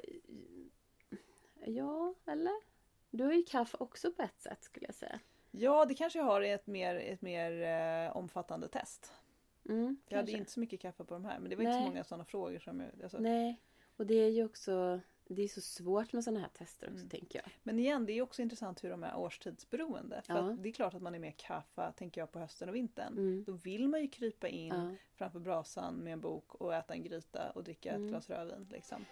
S1: Ja, eller? Du har ju kaffe också på ett sätt skulle jag säga.
S2: Ja, det kanske jag har i ett mer, ett mer eh, omfattande test.
S1: Mm,
S2: Jag hade
S1: kanske.
S2: inte så mycket kaffe på de här, men det var inte
S1: Nej.
S2: så många sådana frågor som jag... Alltså,
S1: Nej, och det är ju också... Det är så svårt med sådana här tester också
S2: Mm.
S1: tänker jag.
S2: Men igen, det är ju också intressant hur de är årstidsberoende. För
S1: Ja.
S2: att det är klart att man är mer kaffe, tänker jag, på hösten och vintern.
S1: Mm.
S2: Då vill man ju krypa in
S1: Ja.
S2: framför brasan med en bok och äta en gryta och dricka
S1: Mm.
S2: ett glas rödvin. Liksom.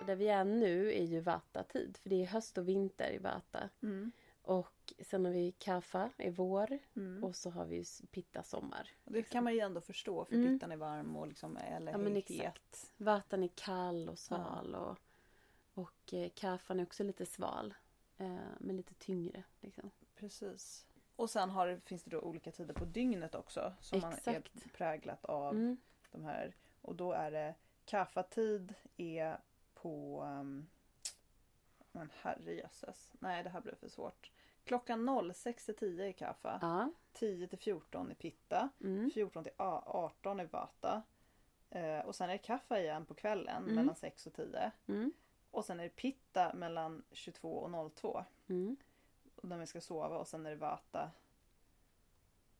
S1: Och Där vi är nu är ju Vata-tid, för det är höst och vinter i Vata. Och sen har vi Kaffa i vår
S2: Mm.
S1: och så har vi ju s- Pitta sommar.
S2: Och det kan man ju ändå förstå för
S1: Mm.
S2: pittan är varm och liksom, eller
S1: Ja men
S2: het.
S1: exakt. Vatan är kall och sval och Och eh, kaffan är också lite sval. Eh, men lite tyngre. Liksom.
S2: Precis. Och sen har, finns det då olika tider på dygnet också som man är
S1: Exakt.
S2: präglat av
S1: Mm.
S2: de här. Och då är det kaffatid är på... ehm, men herrejösses. Nej, det här blev för svårt. Klockan 06 till 10 är kaffa.
S1: Ja.
S2: 10 till 14 är pitta.
S1: Mm.
S2: 14 till a- 18 är vata. Eh, och sen är det kaffa igen på kvällen
S1: Mm.
S2: mellan 6 och 10.
S1: Mm.
S2: Och sen är det pitta mellan 22 och 02.
S1: Mm.
S2: Och när man ska sova och sen är det vata.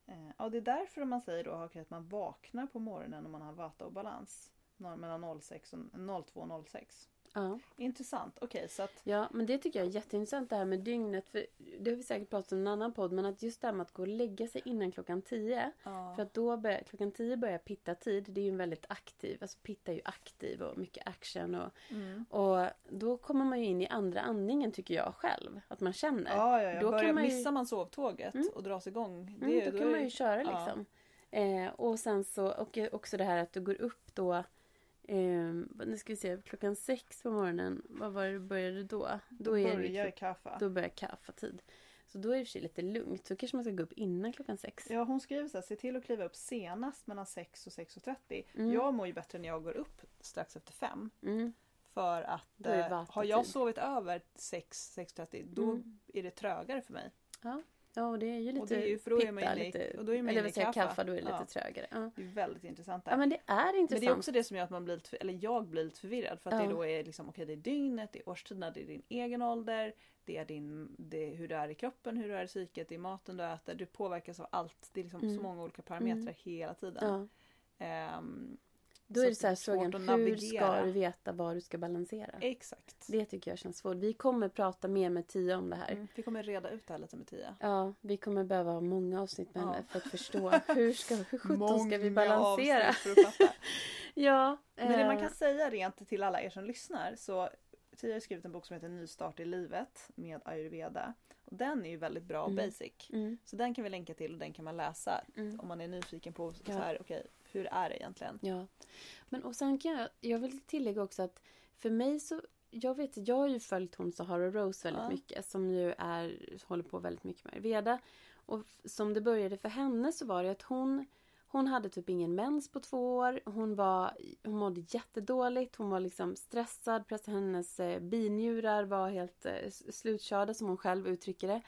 S2: Eh, ja, det är därför man säger då Haki, att man vaknar på morgonen om man har vata och balans. Nå- Mellan 06 och 02 och 06.
S1: Ja.
S2: Intressant. Okej, så att
S1: Ja, men det tycker jag är jätteintressant det här med dygnet. För det har vi säkert pratat om i en annan podd. Men att just det här med att gå och lägga sig innan klockan 10. För
S2: ja,
S1: att då börjar, klockan 10 börjar pitta-tid. Det är ju en väldigt aktiv. Alltså pitta är ju aktiv och mycket action. Och,
S2: mm.
S1: och då kommer man ju in i andra andningen tycker jag själv. Att man känner.
S2: ja, ja, ja.
S1: Då
S2: Börjar,
S1: kan man ju-
S2: missar man sovtåget
S1: Mm.
S2: och dras igång. Det,
S1: Mm,
S2: är-
S1: då kan
S2: är-
S1: man ju köra
S2: ja.
S1: liksom. Eh, och sen så, och också det här att du går upp då, eh, vad- nu ska vi se, klockan sex på morgonen, vad var det du började då? Då, är det,
S2: börjar
S1: ju-
S2: i kaffa.
S1: då börjar kaffatid. Så då är det i och för sig lite lugnt, så kanske man ska gå upp innan klockan sex.
S2: Ja, hon skriver så här, se till att kliva upp senast mellan 6 och 6.30.
S1: Mm.
S2: Jag mår ju bättre när jag går upp strax efter 5.
S1: Mm,
S2: För att
S1: Då är det
S2: eh, har
S1: vatetid.
S2: jag sovit över 6, 6.30 då
S1: Mm.
S2: är det trögare för mig.
S1: ja, och det är ju
S2: och
S1: lite
S2: det är ju, för då är man
S1: pitta,
S2: inne i,
S1: lite,
S2: och då är man
S1: eller
S2: inne i
S1: vad säger jag,
S2: kaffa.
S1: kaffa, då är det lite
S2: ja,
S1: trögare. Ja.
S2: Det är väldigt intressant där.
S1: ja,
S2: men,
S1: men det är
S2: det är
S1: intressant.
S2: också det som gör att man blir lite, eller jag blir lite förvirrad för att det
S1: Ja.
S2: då är liksom, okej det är dygnet, det är årstiderna, det är din egen ålder, det är din, det är hur du är i kroppen, hur du är i psyket, det är maten du äter, du påverkas av allt. Det är liksom så
S1: Mm.
S2: många olika parametrar hela tiden.
S1: ja.
S2: Ehm,
S1: Då
S2: Så
S1: är det så här
S2: det är svårt
S1: frågan,
S2: att
S1: hur
S2: navigera.
S1: ska du veta vad du ska balansera?
S2: Exakt.
S1: Det tycker jag känns svårt. Vi kommer prata mer med Tia om det här.
S2: Mm, vi kommer reda ut det här lite med Tia.
S1: Ja, vi kommer behöva ha många avsnitt med
S2: Ja.
S1: henne för att förstå hur, ska, hur sjutton ska vi balansera?
S2: avsnitt för att fatta.
S1: Ja,
S2: Men det man
S1: eh,
S2: kan säga rent till alla er som lyssnar så Tia har ju skrivit en bok som heter Nystart i livet med ayurveda. Och den är ju väldigt bra och
S1: Mm.
S2: basic.
S1: Mm,
S2: Så den kan vi länka till och den kan man läsa
S1: mm,
S2: om man är nyfiken på så
S1: Ja.
S2: här, okej, hur är det egentligen?
S1: ja. Men och sen kan jag, jag vill tillägga också att för mig så, jag vet jag har ju följt hon Sahara Rose väldigt
S2: Ja.
S1: mycket som ju är, håller på väldigt mycket med Ayurveda. Och f- som det började för henne så var det att hon hon hade typ ingen mens på två år. Hon, var, hon mådde jättedåligt. Hon var liksom stressad. press- Hennes eh, binjurar var helt eh, s- slutkörda som hon själv uttrycker det.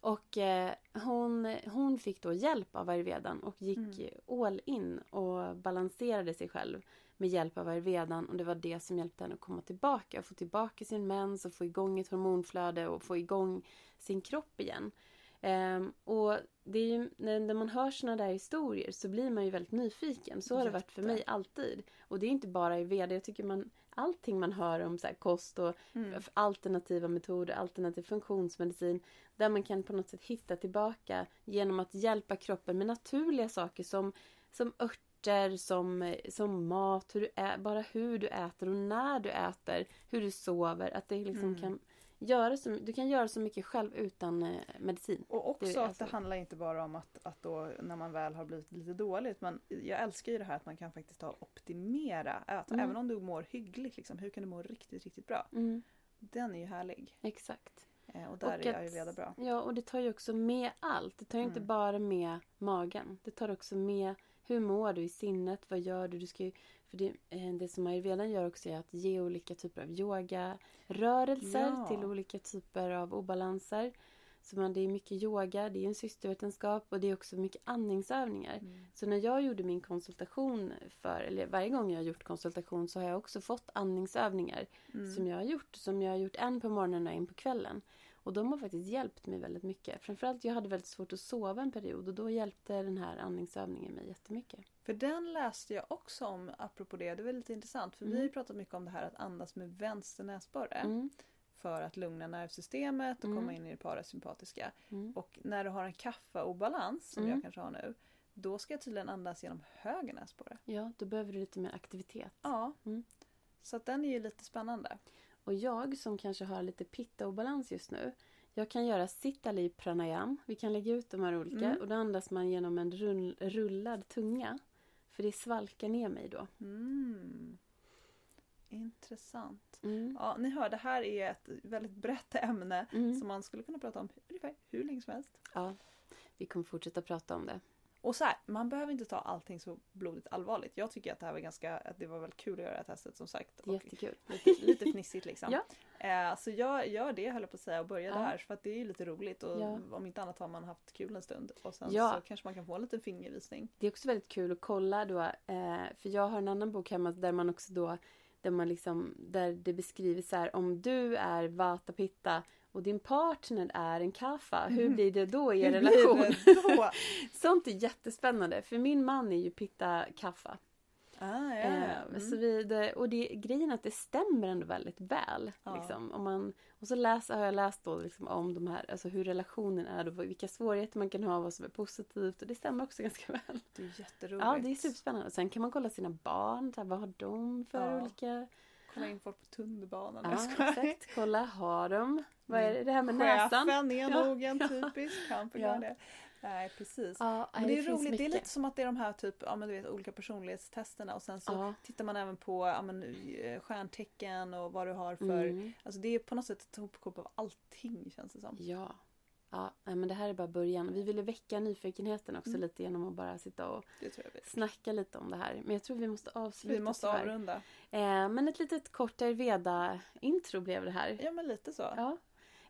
S1: Och eh, hon, hon fick då hjälp av ayurvedan och gick all in och balanserade sig själv med hjälp av ayurvedan. Och det var det som hjälpte henne att komma tillbaka och få tillbaka sin mens och få igång ett hormonflöde och få igång sin kropp igen. Ehm, och det är ju, när, när man hör såna där historier så blir man ju väldigt nyfiken. Så har det varit för
S2: Jätte.
S1: mig alltid. Och det är inte bara ayurveda. Jag tycker man, allting man hör om så här kost och
S2: Mm.
S1: alternativa metoder, alternativ funktionsmedicin. Där man kan på något sätt hitta tillbaka genom att hjälpa kroppen med naturliga saker som, som örter, som, eh, som mat, hur du ä- bara hur du äter och när du äter, hur du sover. Att det liksom
S2: Mm.
S1: kan göra så, du kan göra så mycket själv utan eh, medicin.
S2: Och också
S1: Det är
S2: att det
S1: alltså-
S2: handlar inte bara om att, att då när man väl har blivit lite dåligt men jag älskar ju det här att man kan faktiskt ta och optimera. Att
S1: Mm.
S2: Även om du mår hyggligt, liksom, hur kan du må riktigt, riktigt bra?
S1: Mm,
S2: Den är ju härlig.
S1: exakt.
S2: Eh, och där
S1: Och
S2: är
S1: att-
S2: ayurveda bra.
S1: Ja, och det tar ju också med allt. Det tar ju inte
S2: Mm.
S1: bara med magen. Det tar också med hur mår du i sinnet? Vad gör du? du ska ju, för det, eh, det som ayurvedan gör också är att ge olika typer av yoga rörelser
S2: Ja.
S1: till olika typer av obalanser. Så man, det är mycket yoga, det är en systervetenskap och det är också mycket andningsövningar.
S2: Mm.
S1: Så när jag gjorde min konsultation för, eller varje gång jag har gjort konsultation så har jag också fått andningsövningar
S2: Mm.
S1: som jag har gjort. Som jag har gjort en på morgonen och en på kvällen. Och de har faktiskt hjälpt mig väldigt mycket. Framförallt jag hade väldigt svårt att sova en period och då hjälpte den här andningsövningen mig jättemycket.
S2: För den läste jag också om, apropå det, det var lite intressant. För vi har ju
S1: Mm.
S2: pratat mycket om det här att andas med vänster näsborre.
S1: Mm,
S2: För att lugna nervsystemet och
S1: Mm.
S2: komma in i det parasympatiska.
S1: mm,
S2: Och när du har en kaffeobalans, som
S1: Mm.
S2: jag kanske har nu, då ska jag tydligen andas genom höger näsborre.
S1: ja, då behöver du lite mer aktivitet.
S2: Ja.
S1: Mm.
S2: Så att den är ju lite spännande.
S1: Och jag som kanske har lite pitta-obalans just nu. Jag kan göra sittali pranayam. Vi kan lägga ut de här olika.
S2: Mm.
S1: Och då andas man genom en rull, rullad tunga. För det svalkar ner mig då.
S2: Mm. Intressant.
S1: Mm.
S2: Ja, ni hör, det här är ett väldigt brett ämne
S1: Mm.
S2: som man skulle kunna prata om ungefär hur länge som helst.
S1: Ja, vi kommer fortsätta prata om det.
S2: Och så här, man behöver inte ta allting så blodigt allvarligt. Jag tycker att det här var ganska, att det var väldigt kul att göra det här testet som sagt.
S1: Det är
S2: Och
S1: jättekul.
S2: lite, lite fnissigt liksom.
S1: Ja.
S2: eh, så jag gör det höll jag på att säga och börjar
S1: Ja.
S2: där för att det är ju lite roligt och
S1: Ja.
S2: om inte annat har man haft kul en stund. Och sen
S1: Ja.
S2: så kanske man kan få en liten fingervisning.
S1: Det är också väldigt kul att kolla då, eh, för jag har en annan bok hemma där man också då, där man liksom, där det beskriver så här, om du är Vata Pitta och din partner är en kaffa, hur
S2: Mhm.
S1: blir det då i er
S2: Hur blir
S1: relation?
S2: det då?
S1: Sånt är jättespännande, för min man är ju Pitta Kaffa.
S2: ah, ja,
S1: Eh,
S2: ja. Mm.
S1: så vi, det, och det, grejen är att det stämmer ändå väldigt väl.
S2: Ja.
S1: Liksom. Om man, och så läs, har jag läst då liksom om de här, alltså hur relationen är och vilka svårigheter man kan ha, vad som är positivt. Och det stämmer också ganska väl.
S2: Det är jätteroligt.
S1: Ja, det är typ- superspännande. Och sen kan man kolla sina barn, så här, vad har de för
S2: Ja.
S1: olika...
S2: Kolla in folk på tunnelbanan.
S1: Ja,
S2: Jag skojar.
S1: exakt. Kolla, har de? Vad är det, det här med näsan?
S2: Chefen är
S1: Ja,
S2: nog en
S1: ja.
S2: typisk, han får
S1: Ja.
S2: göra det. Nej, precis.
S1: Ja,
S2: Men det är
S1: finns
S2: roligt, det är
S1: mycket.
S2: lite som att det är de här typ, ja, men du vet, olika personlighetstesterna och sen så
S1: Ja.
S2: tittar man även på ja, men, eh, stjärntecken och vad du har för...
S1: Mm.
S2: Alltså det är på något sätt ett hopkok av allting känns det som.
S1: Ja. Ja, nej, men det här är bara början. Vi ville väcka nyfikenheten också
S2: Mm.
S1: lite genom att bara sitta och
S2: Det tror jag vi.
S1: snacka lite om det här. Men jag tror vi måste avsluta
S2: Vi måste
S1: tyvärr.
S2: avrunda.
S1: Eh, men ett litet kort Ayurveda-intro blev det här.
S2: Ja men lite så.
S1: Ja.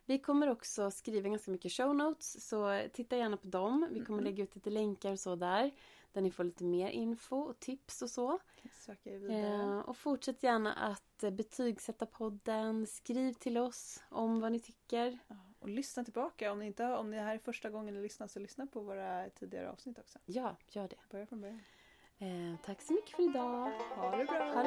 S1: Vi kommer också skriva ganska mycket show notes, så titta gärna på dem. Vi kommer
S2: Mhm.
S1: lägga ut lite länkar och så där, där ni får lite mer info och tips och så.
S2: Kan Söka er vidare.
S1: Eh, och fortsätt gärna att eh, betygsätta podden, skriv till oss om vad ni tycker.
S2: Ja, Och lyssna tillbaka om ni inte har, om det här är första gången ni lyssnar så lyssna på våra tidigare avsnitt också.
S1: Ja, gör det.
S2: Börja från början.
S1: Eh, tack så mycket för idag.
S2: Ha det bra!